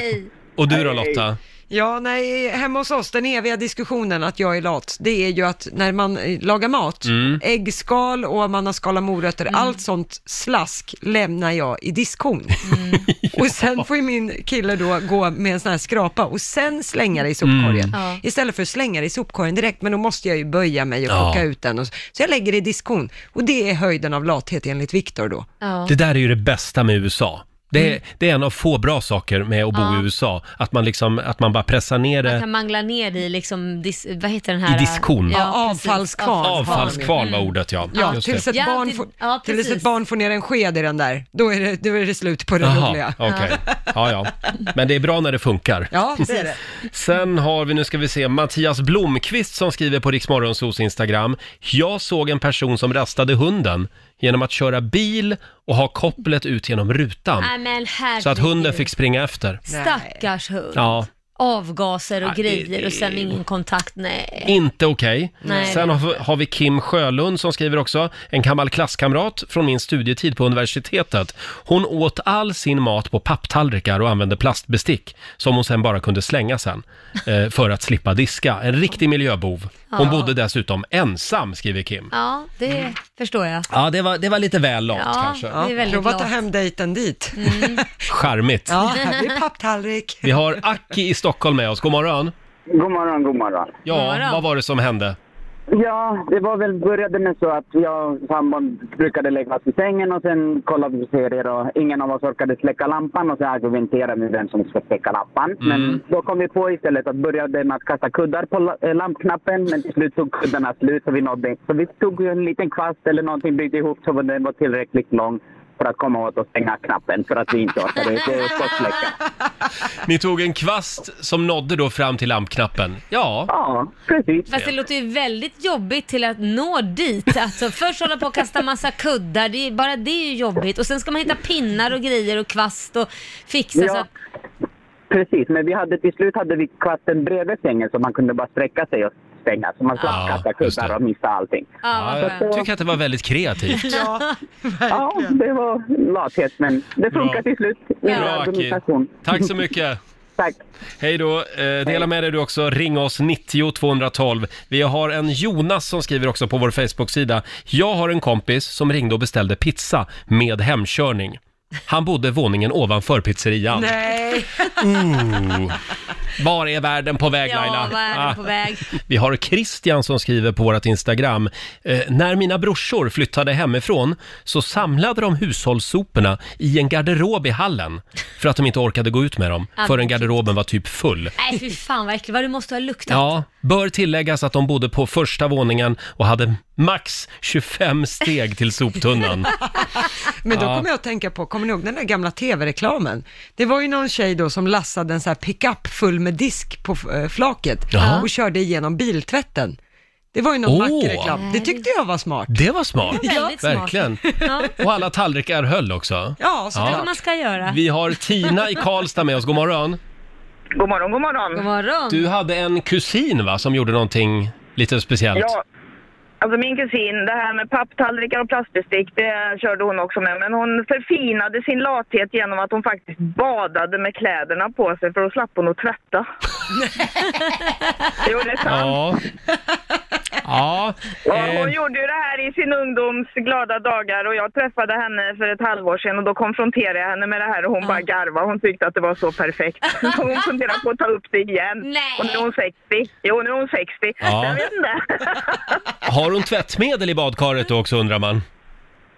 S1: Och du då
S3: Hej, hej.
S1: Lotta?
S3: Ja, nej, hemma hos oss, den eviga diskussionen att jag är lat, det är ju att när man eh, lagar mat,
S1: Mm.
S3: äggskal och man har skalat morötter, allt sånt slask lämnar jag i diskhon. Och sen får ju min kille då gå med en sån här skrapa och sen slänga det i sopkorgen.
S8: Mm. Ja.
S3: Istället för att slänga det i sopkorgen direkt, men då måste jag ju böja mig och
S1: Ja.
S3: plocka ut den. Och så, så jag lägger det i diskhon. Och det är höjden av lathet enligt Viktor då.
S1: Det där är ju det bästa med USA. Det är,
S3: Mm.
S1: det är en av få bra saker med att bo
S2: Ja.
S1: i USA, att man, liksom, att man bara pressar ner
S2: Man
S1: det
S2: kan mangla ner i liksom, dis, vad heter den här?
S1: I diskon.
S2: Ja,
S1: Ja,
S2: precis.
S3: avfallskvarn.
S1: Avfallskvarn var
S2: Mm.
S1: ordet ja.
S3: Ja,
S1: Just
S3: tills
S1: det.
S3: ett, barn
S2: till-
S3: får,
S2: ja,
S3: tills ett
S2: precis.
S3: barn får ner en sked i den där, då är det, då är det slut på det
S1: Jaha,
S3: roliga.
S1: okej. Ja, ja. Men det är bra när det funkar.
S3: Ja, det är det.
S1: Sen har vi, nu ska vi se, Mattias Blomqvist som skriver på Riksmorgonsos Instagram. Jag såg en person som rastade hunden genom att köra bil och ha kopplet ut genom rutan.
S2: Nej, men herregud.
S1: Så att hunden fick springa efter.
S2: Stackars hund.
S1: Ja,
S2: Avgaser och
S1: Ja, det-
S2: grejer och sen ingen kontakt. Nej.
S1: Inte okej.
S2: Nej,
S1: Sen har, har vi Kim Sjölund som skriver också, en gammal klasskamrat från min studietid på universitetet. Hon åt all sin mat på papptallrikar och använde plastbestick som hon sen bara kunde slänga sen eh, för att slippa diska. En riktig miljöbov. Hon
S2: Ja.
S1: bodde dessutom ensam, skriver Kim.
S2: Ja, det förstår jag.
S1: Ja, det var, det var lite väl långt
S2: Ja,
S1: kanske.
S2: det är väldigt Mm.
S3: Prova att ta
S2: lat.
S3: hem dejten dit.
S1: Charmigt.
S3: Ja, det är papptallrik.
S1: Vi har Aki i Stockholm med oss. God morgon.
S12: God morgon, god morgon.
S1: Ja, vad var det som hände?
S12: Ja, det var väl, började med så att jag och sambon brukade lägga oss i sängen och sen kolla på serier och ingen av oss orkade släcka lampan och så argumenterade vi vem som ska släcka lampan.
S1: Mm.
S12: Men då kom vi på istället att började med att kasta kuddar på la- eh, lampknappen men till slut tog kuddarna slut så vi nådde Så vi tog ju en liten kvast eller någonting byggde ihop så var den var tillräckligt lång för att komma åt och stänga knappen för att vi inte orkade eh, skottsläcka.
S1: Ni tog en kvast som nådde då fram till lampknappen. Ja.
S12: Ja, precis.
S2: Fast det låter ju väldigt jobbigt till att nå dit. Alltså, först hålla på och kasta massa kuddar, det är, bara det är ju jobbigt. Och sen ska man hitta pinnar och grejer och kvast och fixa så
S12: Ja.
S2: att...
S12: Precis, men vi hade, till slut hade vi kvasten bredvid sängen så man kunde bara sträcka sig och stänga. Så man slapp
S1: Ja,
S12: kasta
S1: just
S12: kuddar och missa allting.
S1: Ja, jag tycker att det var väldigt kreativt.
S12: Ja, ja, det var lathet, men det funkar till slut.
S1: Bra, Aki. Tack så mycket.
S12: Tack.
S1: Hej då. Eh, dela med dig du också. Ring oss 90 212. Vi har en Jonas som skriver också på vår Facebook-sida. Jag har en kompis som ringde och beställde pizza med hemkörning. Han bodde våningen ovanför pizzerian.
S2: Nej.
S1: Ooh. Var är världen på väg Laila?
S2: Ja, vad är
S1: Ah.
S2: det på väg?
S1: Vi har Christian som skriver på vårt Instagram. Eh, när mina brorsor flyttade hemifrån så samlade de hushållssoporna i en garderob i hallen för att de inte orkade gå ut med dem
S2: Ah,
S1: förrän garderoben var typ full.
S2: Nej, fy fan vad äckligt. Vad det måste ha luktat.
S1: Ja, bör tilläggas att de bodde på första våningen och hade max 25 steg till soptunnan.
S3: Men då
S1: Ja.
S3: kommer jag att tänka på, kommer ni ihåg den där gamla tv-reklamen? Det var ju någon tjej då som lassade en så här pickup full med disk på eh, flaket
S1: Jaha.
S3: och körde igenom biltvätten. Det var ju någon
S1: Åh.
S3: mackreklam. Det tyckte jag var smart.
S1: Det var smart.
S3: Det var väldigt smart.
S1: Verkligen.
S2: Ja.
S1: Och alla tallrikar höll också.
S2: Ja, så det är vad man ska göra.
S1: Vi har Tina i Karlstad med oss. God morgon.
S13: God morgon, god morgon.
S2: God morgon.
S1: Du hade en kusin va, som gjorde någonting lite speciellt?
S13: Ja, alltså min kusin, det här med papptallrikar och plastbestick, det körde hon också med. Men hon förfinade sin lathet genom att hon faktiskt badade med kläderna på sig för då slapp hon att tvätta. jo, det är sant.
S1: Ja. Ja.
S13: Och
S1: eh,
S13: hon gjorde ju det här i sin ungdoms glada dagar och jag träffade henne för ett halvår sedan och då konfronterade jag henne med det här och hon bara garvade. Hon tyckte att det var så perfekt. Så hon funderar på att ta upp det igen. Och nu är hon 60. Jo, nu är hon 60.
S1: Ja.
S13: Jag vet inte.
S1: Har hon tvättmedel i badkaret då också undrar man?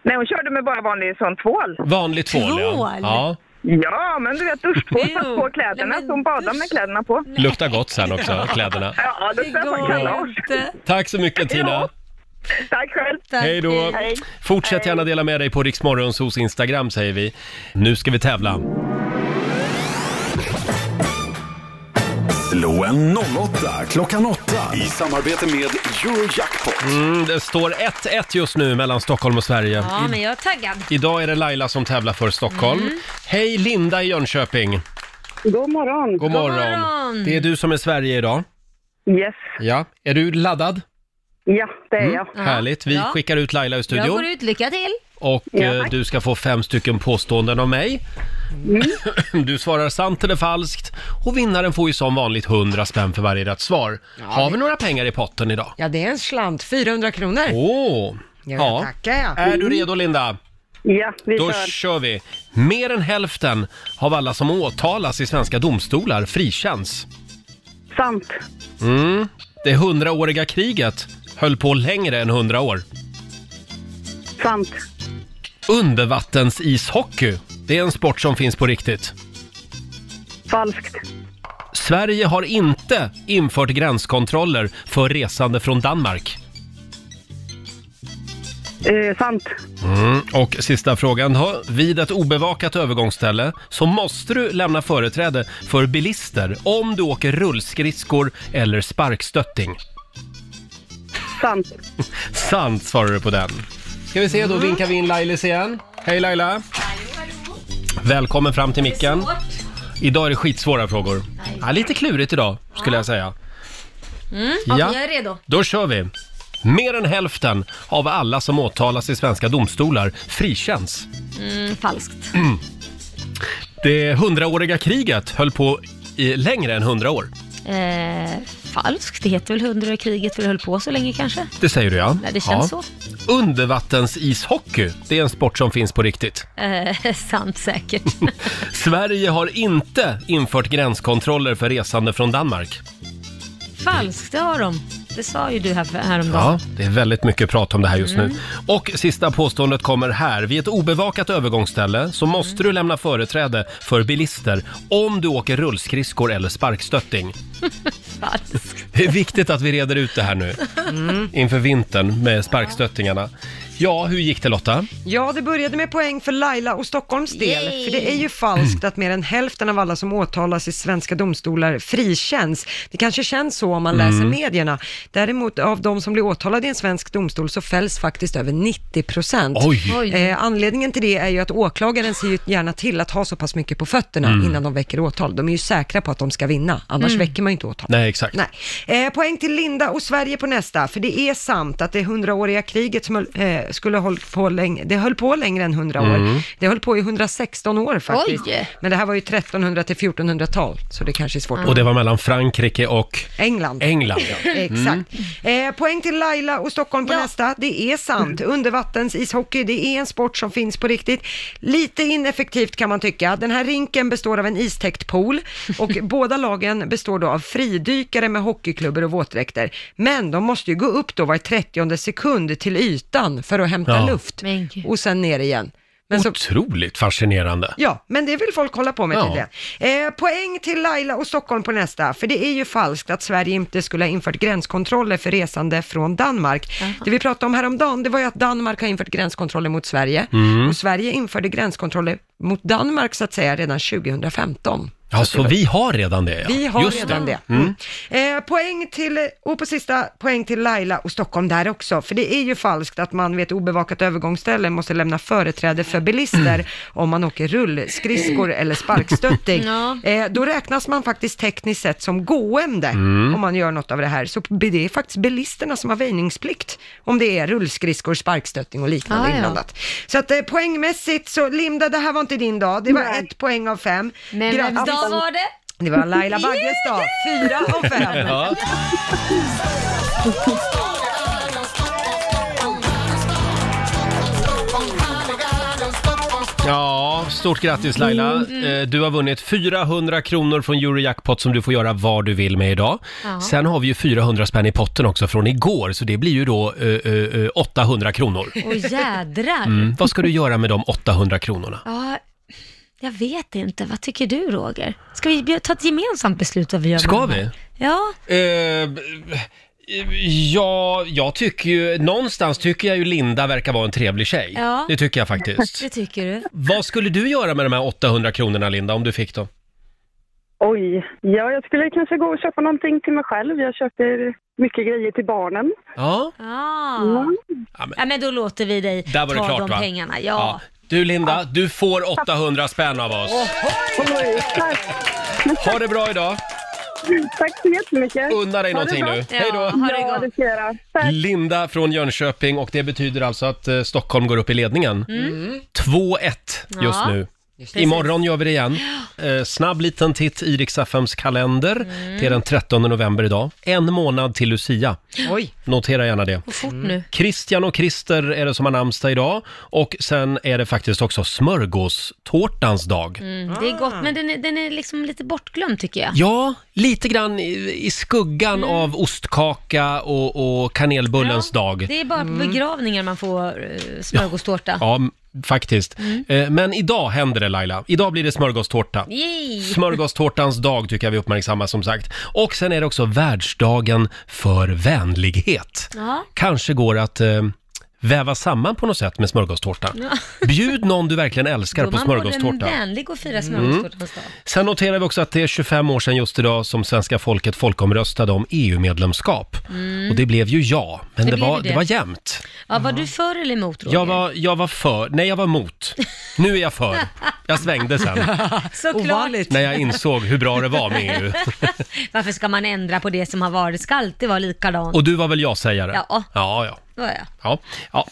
S13: Nej, hon körde med bara vanlig sån tvål.
S1: Vanlig tvål, Ja.
S13: Tvål?
S1: ja.
S13: Ja, men du vet duschtvål satt på kläderna så hon badade med kläderna på.
S1: Luktar gott sen också, kläderna.
S13: Ja, det går kalas.
S1: Tack så mycket Tina.
S13: Tack själv.
S1: Hej då. Fortsätt gärna dela med dig på Riksmorgonsos Instagram säger vi. Nu ska vi tävla.
S4: Slå en 08 klockan 8.
S9: I samarbete med Eurojackpot.
S1: Mm, det står 1-1 just nu mellan Stockholm och Sverige.
S2: Ja,
S1: I-
S2: men jag är taggad.
S1: Idag är det Laila som tävlar för Stockholm.
S2: Mm.
S1: Hej Linda i Jönköping.
S13: God morgon.
S1: God morgon.
S2: morgon.
S1: Det är du som är Sverige idag.
S13: Yes.
S1: Ja. Är du laddad?
S13: Ja, det är jag.
S1: Mm, Härligt. Vi
S2: Ja.
S1: skickar ut Laila ur
S2: Jag går
S1: studion.
S2: ut. Lycka till.
S1: Och
S2: Ja,
S1: eh,
S2: tack.
S1: du ska få fem stycken påståenden av mig.
S13: Mm.
S1: Du svarar sant eller falskt och vinnaren får ju som vanligt 100 spänn för varje rätt svar. Har vi några pengar i potten idag?
S3: Ja, det är en slant, 400 kronor.
S1: Åh! ja.
S3: tackar jag.
S1: Är du redo Linda?
S13: Ja, vi
S1: Då
S13: kör.
S1: kör vi! Mer än hälften av alla som åtalas i svenska domstolar frikänns.
S13: Sant.
S1: Mm. Det hundraåriga kriget höll på längre än hundra år.
S13: Sant.
S1: Undervattensishockey, det är en sport som finns på riktigt.
S13: Falskt.
S1: Sverige har inte infört gränskontroller för resande från Danmark.
S13: Eh, sant.
S1: Mm. Och sista frågan då. Vid ett obevakat övergångsställe så måste du lämna företräde för bilister om du åker rullskridskor eller sparkstötting.
S13: Sant.
S1: Sant svarar du på den. Ska vi se, då vinkar vi in Lailis igen. Hej Laila! Välkommen fram till micken. Idag är det skitsvåra frågor. Ja, lite klurigt idag, skulle jag säga.
S2: Mm. Ja,
S1: Ja.
S2: Jag är redo.
S1: Då kör vi! Mer än hälften av alla som åtalas i svenska domstolar frikänns.
S2: Mm, falskt.
S1: Mm. Det hundraåriga kriget höll på i längre än hundra år.
S2: Eh, falskt? Det heter väl hundra i kriget för det höll på så länge kanske?
S1: Det säger du ja.
S2: Nej, det känns
S1: ja. så. Undervattensishockey, det är en sport som finns på riktigt.
S2: Eh, sant säkert.
S1: Sverige har inte infört gränskontroller för resande från Danmark.
S2: falskt, det har de. Det sa ju du här för, häromdagen.
S1: Ja, det är väldigt mycket prat om det här just
S2: Mm.
S1: nu. Och sista påståendet kommer här. Vid ett obevakat övergångsställe
S3: Mm.
S1: så måste du lämna företräde för bilister om du åker rullskridskor eller sparkstötting. Det är viktigt att vi reder ut det här nu
S3: Mm.
S1: inför vintern med sparkstöttingarna. Ja, hur gick det Lotta?
S3: Ja, det började med poäng för Laila och Stockholms del.
S8: Yay!
S3: För det är ju falskt att mer än hälften av alla som åtalas i svenska domstolar frikänns. Det kanske känns så om man
S8: Mm.
S3: läser medierna. Däremot av de som blir åtalade i en svensk domstol så fälls faktiskt över 90 procent.
S8: Oj. Oj.
S3: Eh, anledningen till det är ju att åklagaren ser ju gärna till att ha så pass mycket på fötterna
S1: Mm.
S3: innan de väcker åtal. De är ju säkra på att de ska vinna, annars
S1: Mm.
S3: väcker man ju inte åtal.
S1: Nej, exakt.
S3: Nej. Eh, poäng till Linda och Sverige på nästa, för det är sant att det hundraåriga kriget som höll- eh, skulle håll på läng- det höll på längre än 100 år.
S8: Mm.
S3: Det höll på i 116 år faktiskt.
S8: Oj.
S3: Men det här var ju 1300 till 1400-tal, så det kanske är svårt
S1: Och det var mellan Frankrike och...
S3: England.
S1: England, ja. Mm. Mm.
S3: Exakt. Eh, poäng till Laila och Stockholm på nästa. Det är sant. Undervattensishockey, det är en sport som finns på riktigt. Lite ineffektivt kan man tycka. Den här rinken består av en istäckt pool och båda lagen består då av fridykare med hockeyklubbor och våtdräkter. Men de måste ju gå upp då var 30 sekund till ytan för att hämta
S1: Ja.
S3: luft och sen ner igen. Men så,
S1: Otroligt fascinerande.
S3: Ja, men det vill folk hålla på med
S1: Ja.
S3: tydligen. Eh, poäng till Laila och Stockholm på nästa, för det är ju falskt att Sverige inte skulle ha infört gränskontroller för resande från Danmark. Det vi pratade om häromdagen, det var ju att Danmark har infört gränskontroller mot Sverige,
S1: Mm.
S3: och Sverige införde gränskontroller mot Danmark så att säga redan 2015.
S1: Ja, så vi har redan det ja.
S3: Vi har
S1: Just
S3: redan det.
S1: Mm.
S3: Eh, poäng till, och på sista, poäng till Laila och Stockholm där också. För det är ju falskt att man vid ett obevakat övergångsställe måste lämna företräde för bilister om man åker rullskridskor eller sparkstötting.
S2: Ja.
S3: eh, då räknas man faktiskt tekniskt sett som gående
S8: Mm.
S3: om man gör något av det här. Så det är faktiskt bilisterna som har väjningsplikt om det är rullskridskor, sparkstötting och liknande
S8: Ah, ja.
S3: inblandat. Så att eh, poängmässigt så, Linda, det här var inte din dag. Det var ett poäng av fem.
S2: Men vems
S3: Grattis.
S2: dag var det?
S3: Det var Laila Bagges dag, fyra av fem.
S1: Ja. Ja, stort grattis Laila.
S8: Mm.
S1: Eh, Du har vunnit 400 kronor från Eurojackpot som du får göra vad du vill med idag.
S8: Ja.
S1: Sen har vi ju 400 spänn i potten också från igår, så det blir ju då eh, eh, eh, 800 kronor.
S2: Åh jädrar.
S1: Mm. Vad ska du göra med de 800 kronorna?
S2: Ja, jag vet inte. Vad tycker du Roger? Ska vi bjö- ta ett gemensamt beslut vad vi gör med
S1: Ska
S2: de här? Ja.
S1: Eh, ja, jag tycker ju, någonstans tycker jag ju Linda verkar vara en trevlig tjej.
S2: ja.
S1: Det tycker jag faktiskt.
S2: Det tycker du.
S1: Vad skulle du göra med de här 800 kronorna Linda, om du fick dem?
S14: Oj. Ja, jag skulle kanske gå och köpa någonting till mig själv. Jag köper mycket grejer till barnen.
S1: Ja,
S2: Ah.
S14: Mm.
S2: Ja, men. då låter vi dig
S1: där var det
S2: ta
S1: klart
S2: de
S1: va?
S2: pengarna. Ja.
S1: Du Linda, du får 800 spänn av oss. Ha det bra idag.
S14: Tack så jättemycket.
S1: Unna dig någonting nu. Hej då.
S14: Ja, det ska jag göra. Tack.
S1: Linda från Jönköping och det betyder alltså att eh, Stockholm går upp i ledningen.
S14: Mm.
S1: 2-1 just
S14: Ja,
S1: nu.
S14: just det.
S1: Imorgon gör vi det igen. Eh, snabb liten titt i Riks-FMs kalender.
S2: Mm.
S1: Det är den 13 november idag. En månad till Lucia.
S3: Oj.
S1: Notera gärna det.
S2: Gå fort nu.
S1: Christian och Christer är det som har namnsdag idag. Och sen är det faktiskt också smörgåstårtans dag.
S2: Mm, det är gott, men den är, den är liksom lite bortglömd tycker jag.
S1: Ja, lite grann i, i skuggan
S2: Mm.
S1: av ostkaka och, och kanelbullens dag.
S2: Det är bara på begravningar man får eh, smörgåstårta.
S1: Ja, m- faktiskt.
S2: Mm.
S1: Eh, Men idag händer det Laila. Idag blir det smörgåstårta.
S2: Yay!
S1: Smörgåstårtans dag tycker jag vi uppmärksammar som sagt. Och sen är det också världsdagen för vänlighet.
S2: Ja.
S1: Kanske går att eh, väva samman på något sätt med smörgåstårta.
S2: Ja.
S1: Bjud någon du verkligen älskar
S2: Då
S1: på
S2: man både
S1: smörgåstårta. Mm.
S2: vänlig och fira smörgåstårtans dag.
S1: Sen noterar vi också att det är 25 år sedan just idag som svenska folket folkomröstade om EU-medlemskap.
S2: Mm.
S1: Och det blev ju ja, men
S2: Det
S1: det,
S2: blev
S1: var,
S2: ju
S1: det.
S2: det.
S1: var jämnt.
S2: Ja, var du för eller emot Roger?
S1: Jag var, jag var för, nej jag var mot. Nu är jag för. Jag svängde sen.
S2: Såklart.
S1: När jag insåg hur bra det var med E EU.
S2: Varför ska man ändra på det som har varit? Det ska alltid vara likadant.
S1: Och du var väl ja-sägare?
S2: Ja.
S1: Ja, ja.
S2: Då är jag.
S1: ja. ja.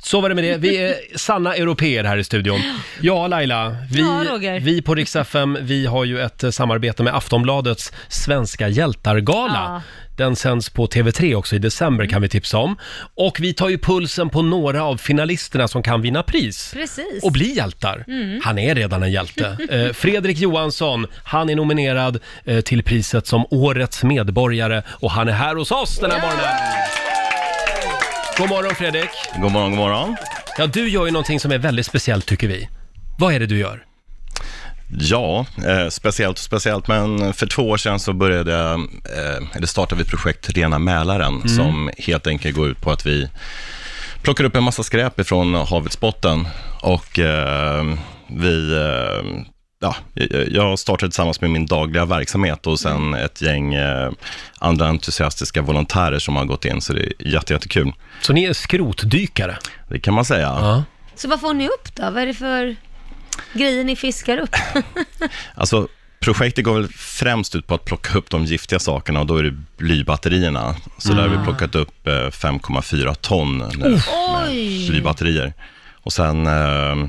S1: Så var det med det. Vi är sanna européer här i studion. Ja, Laila. Vi,
S2: Ja, Roger.
S1: vi på Rix FM, vi har ju ett eh, samarbete med Aftonbladets Svenska hjältargala. Den sänds på TV3 också i december kan vi tipsa om. Och vi tar ju pulsen på några av finalisterna som kan vinna pris.
S2: Precis.
S1: Och bli hjältar.
S2: Mm.
S1: Han är redan en hjälte. Eh, Fredrik Johansson, han är nominerad eh, till priset som Årets medborgare och han är här hos oss den här morgonen. God morgon Fredrik!
S15: God morgon, god morgon.
S1: Ja, du gör ju någonting som är väldigt speciellt tycker vi. Vad är det du gör?
S15: Ja, eh, speciellt och speciellt, men för två år sedan så började, jag, eh, eller startade vi ett projekt Rena Mälaren
S16: Mm.
S15: som helt enkelt går ut på att vi plockar upp en massa skräp ifrån havets botten och eh, vi, eh, ja, jag- jag startade tillsammans med min dagliga verksamhet och sen
S1: Mm.
S15: ett gäng eh, andra entusiastiska volontärer som har gått in, så det är jätte, jättekul.
S1: Så ni är skrotdykare?
S15: Det kan man säga.
S2: Så vad får ni upp då? Vad är det för grejer ni fiskar upp?
S15: Alltså, projektet går väl främst ut på att plocka upp de giftiga sakerna och då är det blybatterierna. Så där har
S2: Ah.
S15: vi plockat upp eh, 5,4 ton nu
S2: Uff.
S15: med
S2: Oj.
S15: blybatterier. Och sen eh,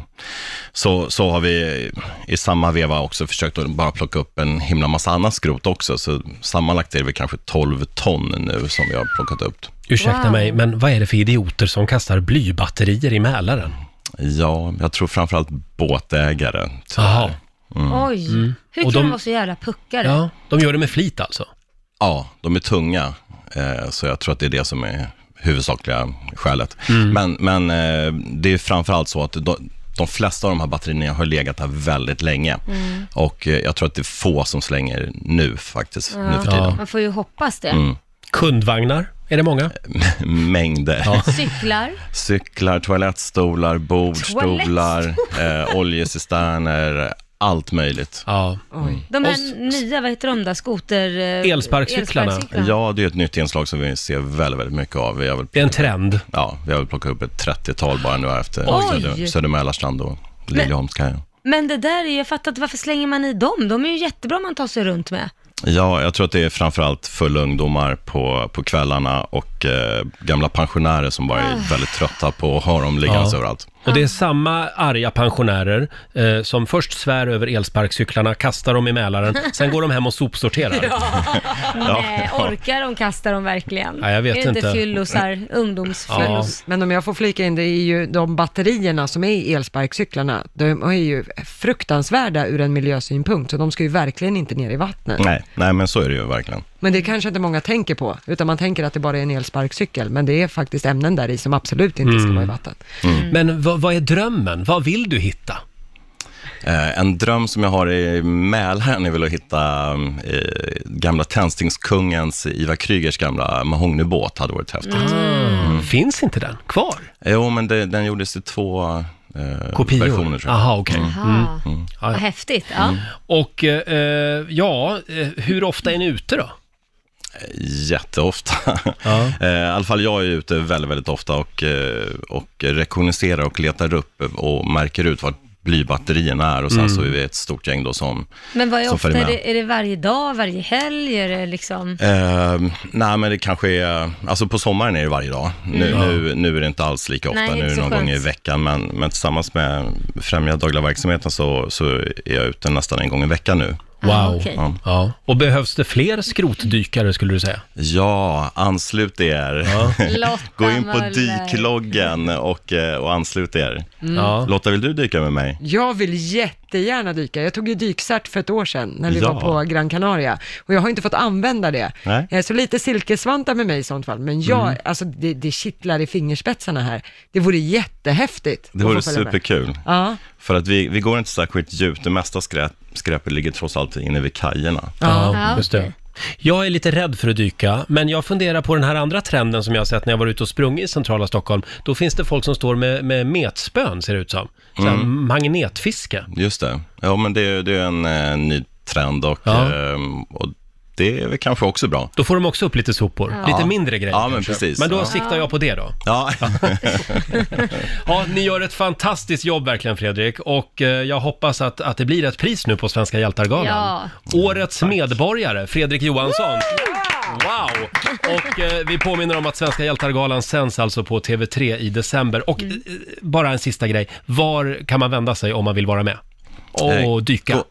S15: så, så har vi i samma veva också försökt att bara plocka upp en himla massa annat skrot också. Så sammanlagt är det väl kanske 12 ton nu som vi har plockat upp.
S1: Ursäkta
S15: Wow.
S1: mig, men vad är det för idioter som kastar blybatterier i Mälaren?
S15: Ja, jag tror framförallt båtägare. Mm.
S1: Jaha. Mm.
S2: Oj, hur kan
S15: Och
S2: Mm. de...
S15: de-
S2: vara så jävla puckade?
S1: de gör det med flit alltså?
S15: Ja, de är tunga, eh, så jag tror att det är det som är huvudsakliga skälet.
S1: Mm.
S15: Men, men eh, det är framförallt så att de, de flesta av de här batterierna har legat här väldigt länge.
S2: Mm.
S15: Och eh, jag tror att det är få som slänger nu faktiskt, nu för
S2: Ja.
S15: tiden.
S2: Man får ju hoppas det.
S15: Mm.
S1: Kundvagnar, är det många?
S15: Mängder.
S2: Cyklar.
S15: Cyklar, toalettstolar, bordstolar, eh, oljecisterner, allt möjligt.
S1: Ja.
S2: De här nya, vad heter de där, skoter... eh, elsparkcyklarna.
S15: Ja, det är ett nytt inslag som vi ser väldigt, väldigt mycket av. Vi har väl
S1: det är en trend.
S15: Ja, vi har väl plockat upp ett 30-tal bara nu här efter
S2: Oj!
S15: Söder- Södermälarstrand och Liljeholmskajen.
S2: Men det där är ju, jag fattar inte, varför slänger man i dem? De är ju jättebra man tar sig runt med.
S15: Ja, jag tror att det är framförallt fulla ungdomar på, på kvällarna och eh, gamla pensionärer som bara
S2: Ah.
S15: är väldigt trötta på att ha dem liggandes
S1: Ja.
S15: överallt.
S1: Och det är samma arga pensionärer eh, som först svär över elsparkcyklarna, kastar dem i Mälaren, sen går de hem och sopsorterar.
S2: Mm. Nej, orkar de kasta dem verkligen?
S1: Ja, jag vet
S2: är det
S1: inte.
S2: inte fyllosar, ungdomsfyllos?
S3: Men om jag får flika in, det är ju de batterierna som är i elsparkcyklarna, de är ju fruktansvärda ur en miljösynpunkt, så de ska ju verkligen inte ner i vattnet.
S15: Nej, nej, men så är det ju verkligen.
S3: Men det kanske inte många tänker på, utan man tänker att det bara är en elsparkcykel, men det är faktiskt ämnen där i som absolut inte ska
S15: Mm.
S3: vara i vattnet.
S1: Men vad, vad är drömmen? Vad vill du hitta?
S15: Eh, en dröm som jag har i Mälaren är väl att hitta eh, gamla Tänstingkungens Ivar Krygers gamla mahognybåt, hade varit häftigt.
S1: Ah.
S15: Mm.
S1: Finns inte den kvar?
S15: Jo, men det, den gjordes i två eh,
S1: Kopior?
S15: versioner tror jag.
S1: Aha, okej. Mm.
S2: Aha. Vad häftigt. Ja.
S1: Och eh, ja, eh, hur ofta är ni ute då?
S15: Jätteofta. Eh, I alla fall jag är ute väldigt, väldigt ofta och, eh, och rekognoserar och letar upp och märker ut vart blybatterierna är och sen
S1: Mm.
S15: så är vi ett stort gäng då som,
S2: Men vad är
S15: som
S2: ofta,
S15: följer
S2: är
S15: med.
S2: det, är det varje dag, varje helg, är det liksom?
S15: Eh, nej men det kanske är, alltså på sommaren är det varje dag. Nu,
S2: Mm.
S15: nu, nu är det inte alls lika ofta,
S2: Nej,
S15: nu
S2: inte
S15: är
S2: så
S15: det någon gång i
S2: skönt.
S15: veckan. Men, men tillsammans med Främja dagliga verksamheten så, så är jag ute nästan en gång i veckan nu.
S1: Wow. ja. Och behövs det fler skrotdykare skulle du säga?
S15: Ja, anslut er.
S2: Lotta
S15: Gå in på
S2: Möller.
S15: dykloggen och, eh, och anslut er.
S3: Mm. Ja.
S15: Lotta, vill du dyka med mig?
S3: Jag vill jättegärna dyka. Jag tog ju dykcert för ett år sedan när vi
S15: Ja.
S3: var på Gran Canaria och jag har inte fått använda det.
S15: Nej.
S3: Eh, Så lite silkesvantar med mig i sånt fall, men jag,
S15: Mm.
S3: alltså det, det kittlar i fingerspetsarna här. Det vore jättehäftigt.
S15: Det
S3: att
S15: vore
S3: få följa med.
S15: superkul.
S3: Ja.
S15: För att vi, vi går inte särskilt djupt, det mesta skräp, skräpet ligger trots allt inne vid kajerna.
S1: Ja, just det. Jag är lite rädd för att dyka, men jag funderar på den här andra trenden som jag har sett när jag var ute och sprungit i centrala Stockholm. Då finns det folk som står med, med metspön, ser det ut som. Så här,
S15: Mm.
S1: Magnetfiske.
S15: Just det. Ja, men det, det är en eh, ny trend och,
S1: Ja.
S15: ehm, och det är väl kanske också bra.
S1: Då får de också upp lite sopor,
S15: Ja.
S1: lite mindre grejer
S15: Ja, men
S1: kanske.
S15: precis.
S1: Men då
S15: Ja.
S1: siktar jag på det då.
S15: Ja.
S1: Ja, ni gör ett fantastiskt jobb verkligen Fredrik och eh, jag hoppas att, att det blir ett pris nu på Svenska hjältargalan.
S2: Ja.
S1: Årets medborgare, Fredrik Johansson. Wow! Och eh, vi påminner om att Svenska hjältar-galan sänds alltså på TV3 i december. Och eh, bara en sista grej. Var kan man vända sig om man vill vara med?
S15: Eh,
S1: Och dyka?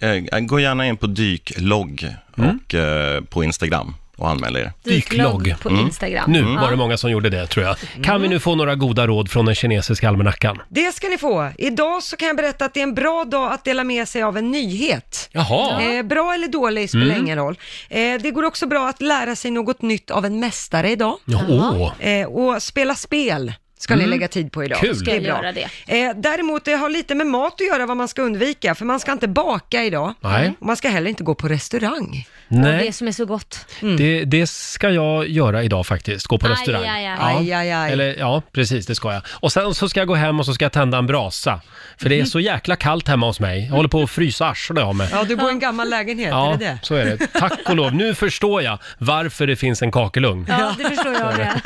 S15: Gå, eh, gå gärna in på dyklogg
S1: Mm.
S15: och, eh, på Instagram och anmäl er.
S1: Dyklogg
S2: på
S15: Mm.
S2: Instagram.
S1: Nu
S15: Mm.
S1: var det många som gjorde det tror jag. Kan vi nu få några goda råd från den kinesiska almanackan?
S3: Det ska ni få. Idag så kan jag berätta att det är en bra dag att dela med sig av en nyhet.
S1: Jaha.
S3: Eh, bra eller dålig spelar
S1: Mm.
S3: ingen roll. Eh, det går också bra att lära sig något nytt av en mästare idag.
S1: Ja, åh.
S3: Eh, och spela spel ska
S1: Mm.
S3: ni lägga tid på idag.
S1: Kul.
S3: är
S1: Ska jag
S3: bra.
S1: göra
S2: det?
S3: Eh, däremot, det har lite med mat att göra vad man ska undvika, för man ska inte baka idag.
S1: Nej.
S3: Och man ska heller inte gå på restaurang.
S1: Nej. det
S2: som är så gott.
S1: Det, det ska jag göra idag faktiskt, gå på
S3: Aj,
S1: restaurang.
S3: aj, aj.
S1: Ja.
S3: Aj, aj, aj.
S1: Eller, ja, precis det ska jag. Och sen så ska jag gå hem och så ska jag tända en brasa. För det är så jäkla kallt hemma hos mig. Jag håller på att frysa arslet av mig.
S3: Ja, du bor i en gammal lägenhet,
S1: Ja,
S3: är det det?
S1: så är det. Tack och lov. Nu förstår jag varför det finns en kakelugn.
S2: Ja, det förstår jag det.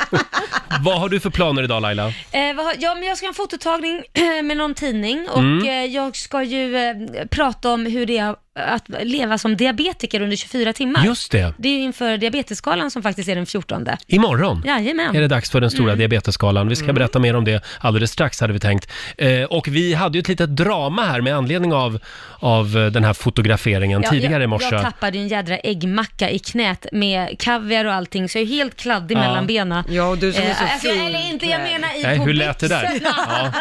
S1: Vad har du för planer idag Laila?
S2: Eh, vad har, ja, men jag ska ha en fototagning med någon tidning och
S1: Mm.
S2: eh, jag ska ju eh, prata om hur det är att leva som diabetiker under 24 timmar.
S1: Just det.
S2: Det är ju inför diabetesskalan som faktiskt är den 14.
S1: Imorgon
S2: Jajamän.
S1: är det dags för den stora
S2: Mm.
S1: diabetesskalan. Vi ska
S2: Mm.
S1: berätta mer om det alldeles strax hade vi tänkt. Eh, och vi hade ju ett litet drama här med anledning av, av eh, den här fotograferingen tidigare i
S2: jag,
S1: morse.
S2: jag tappade ju en jädra äggmacka i knät med kaviar och allting, så jag är helt kladdig
S1: Ja.
S2: mellan benen.
S3: Ja, och du
S1: som är så
S2: alltså,
S1: fin
S2: Eller inte, jag
S1: klädd.
S2: menar i
S1: Nej,
S2: på
S1: hur lät det där?
S2: byxorna.
S1: Ja.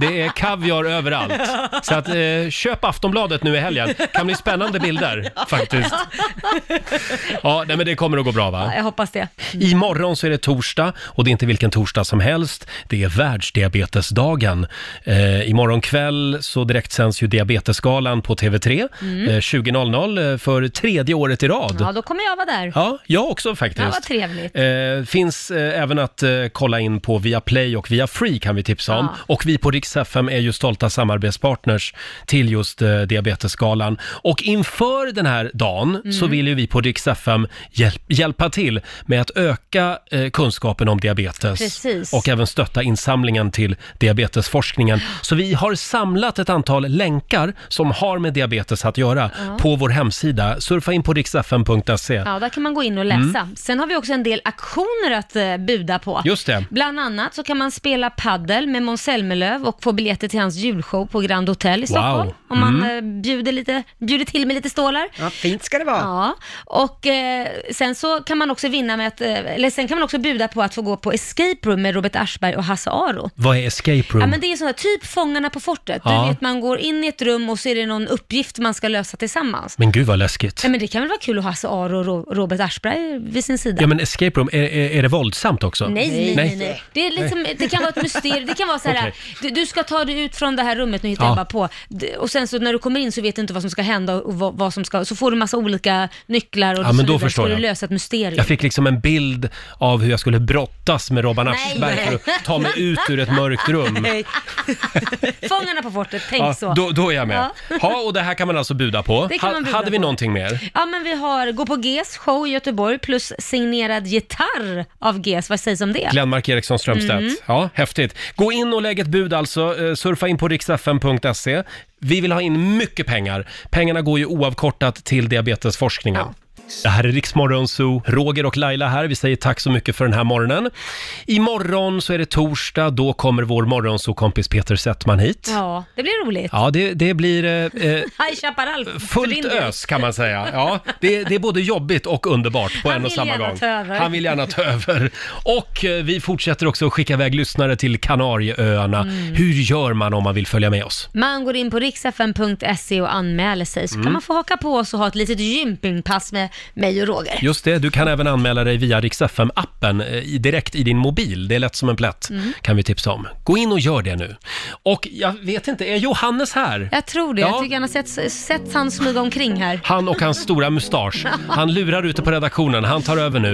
S1: Det är kaviar överallt. Så att, eh, köp Aftonbladet nu i helgen. kan bli spännande bilder faktiskt. Ja, nej, men det kommer att gå bra va?
S2: Jag hoppas det.
S1: Mm. Imorgon så är det torsdag och det är inte vilken torsdag som helst. Det är världsdiabetesdagen. Eh, imorgon kväll så direktsänds ju Diabetesgalan på TV3
S2: Mm.
S1: eh, 20.00 eh, för tredje året i rad.
S2: Ja, då kommer jag vara där.
S1: Ja, jag också faktiskt.
S2: Ja, vad trevligt.
S1: Eh, finns eh, även att eh, kolla in på Viaplay och Viafree kan vi tipsa om.
S2: Ja.
S1: Och vi på Rix FM är ju stolta samarbetspartners till just eh, Diabetesgalan. Och inför den här dagen
S2: Mm.
S1: så vill ju vi på Rix FM hjälp, hjälpa till med att öka eh, kunskapen om diabetes.
S2: Precis.
S1: Och även stötta insamlingen till diabetesforskningen. Så vi har samlat ett antal länkar som har med diabetes att göra
S2: Ja.
S1: på vår hemsida. Surfa in på riksfm.se.
S2: Ja, där kan man gå in och läsa.
S1: Mm.
S2: Sen har vi också en del aktioner att eh, buda på.
S1: Just det.
S2: Bland annat så kan man spela paddel med Måns Zelmerlöw och få biljetter till hans julshow på Grand Hotel i
S1: Wow.
S2: Stockholm. Om man
S1: Mm.
S2: eh, bjuder, lite, bjuder till med lite stålar.
S3: Ja, fint ska det vara.
S2: Ja, och eh, sen så kan man också vinna med att, eh, eller sen kan man också buda på att få gå på Escape Room med Robert Aschberg och Hasse Aro.
S1: Vad är escape room?
S2: Ja, men det är sådana, typ Fångarna på fortet.
S1: Ja.
S2: Du vet, man går in i ett rum och så är det någon uppgift man ska lösa tillsammans.
S1: Men gud vad läskigt.
S2: Ja, men det kan väl vara kul att ha Hasse Aro och Ro- Robert Aschberg vid sin sida?
S1: Ja men escape room, är, är, är det våldsamt också?
S2: Nej, nej, nej. nej. Det, är liksom,
S1: Nej.
S2: det kan vara ett mysterium. Det kan vara så här,
S1: Okej.
S2: du, du ska ta dig ut från det här rummet, nu hittar
S1: Ja.
S2: jag bara på. D- Och sen så när du kommer in så vet du inte vad som ska hända och vad, vad som ska, så får du massa olika nycklar och
S1: Ja, men
S2: så
S1: då
S2: vidare.
S1: förstår
S2: ska
S1: jag.
S2: du lösa ett mysterium.
S1: Jag fick liksom en bild av hur jag skulle brottas med Robban Aschberg för att ta mig ut ur ett mörkt rum.
S2: Nej. Fångarna på fortet, tänk
S1: Ja,
S2: så.
S1: då, då är jag med.
S2: Ja.
S1: Ja, och det här kan man alltså buda på.
S2: Det kan man
S1: Ha-
S2: buda
S1: Hade vi
S2: på.
S1: någonting mer?
S2: Ja, men vi har Gå på GES show i Göteborg plus signerad gitarr av GES. Vad sägs om det?
S1: Glenmark Eriksson Strömstedt.
S2: Mm.
S1: Ja, häftigt. Gå in och lägg ett bud alltså. Eh, Surfa in på riksfn.se. Vi vill ha in mycket pengar. Pengarna går ju oavkortat till diabetesforskningen. Det här är Riksmorgon Zoo. Roger och Laila här. Vi säger tack så mycket för den här morgonen. Imorgon så är det torsdag. Då kommer vår morgonzoo-kompis Peter Settman hit.
S2: Ja, det blir roligt.
S1: Ja, det, det blir eh, eh,
S2: High Chaparral. för din
S1: fullt
S2: del.
S1: ös kan man säga. Ja, det, det är både jobbigt och underbart på en och
S2: vill
S1: samma
S2: gärna
S1: gång.
S2: ta över.
S1: Han vill gärna ta över. Och eh, vi fortsätter också att skicka iväg lyssnare till Kanarieöarna.
S2: Mm.
S1: Hur gör man om man vill följa med oss?
S2: Man går in på riksfn.se och anmäler sig så
S1: Mm.
S2: kan man få haka på oss och ha ett litet gympingpass med mig och Roger.
S1: Just det, du kan även anmäla dig via riksfm appen direkt eh, i din mobil. Det är lätt som en plätt,
S2: Mm.
S1: kan vi tipsa om. Gå in och gör det nu. Och jag vet inte, är Johannes här?
S2: Jag tror det.
S1: Ja.
S2: Jag tycker han har sett, sett han smyga omkring här.
S1: Han och hans stora mustasch. Han lurar ute på redaktionen. Han tar över nu.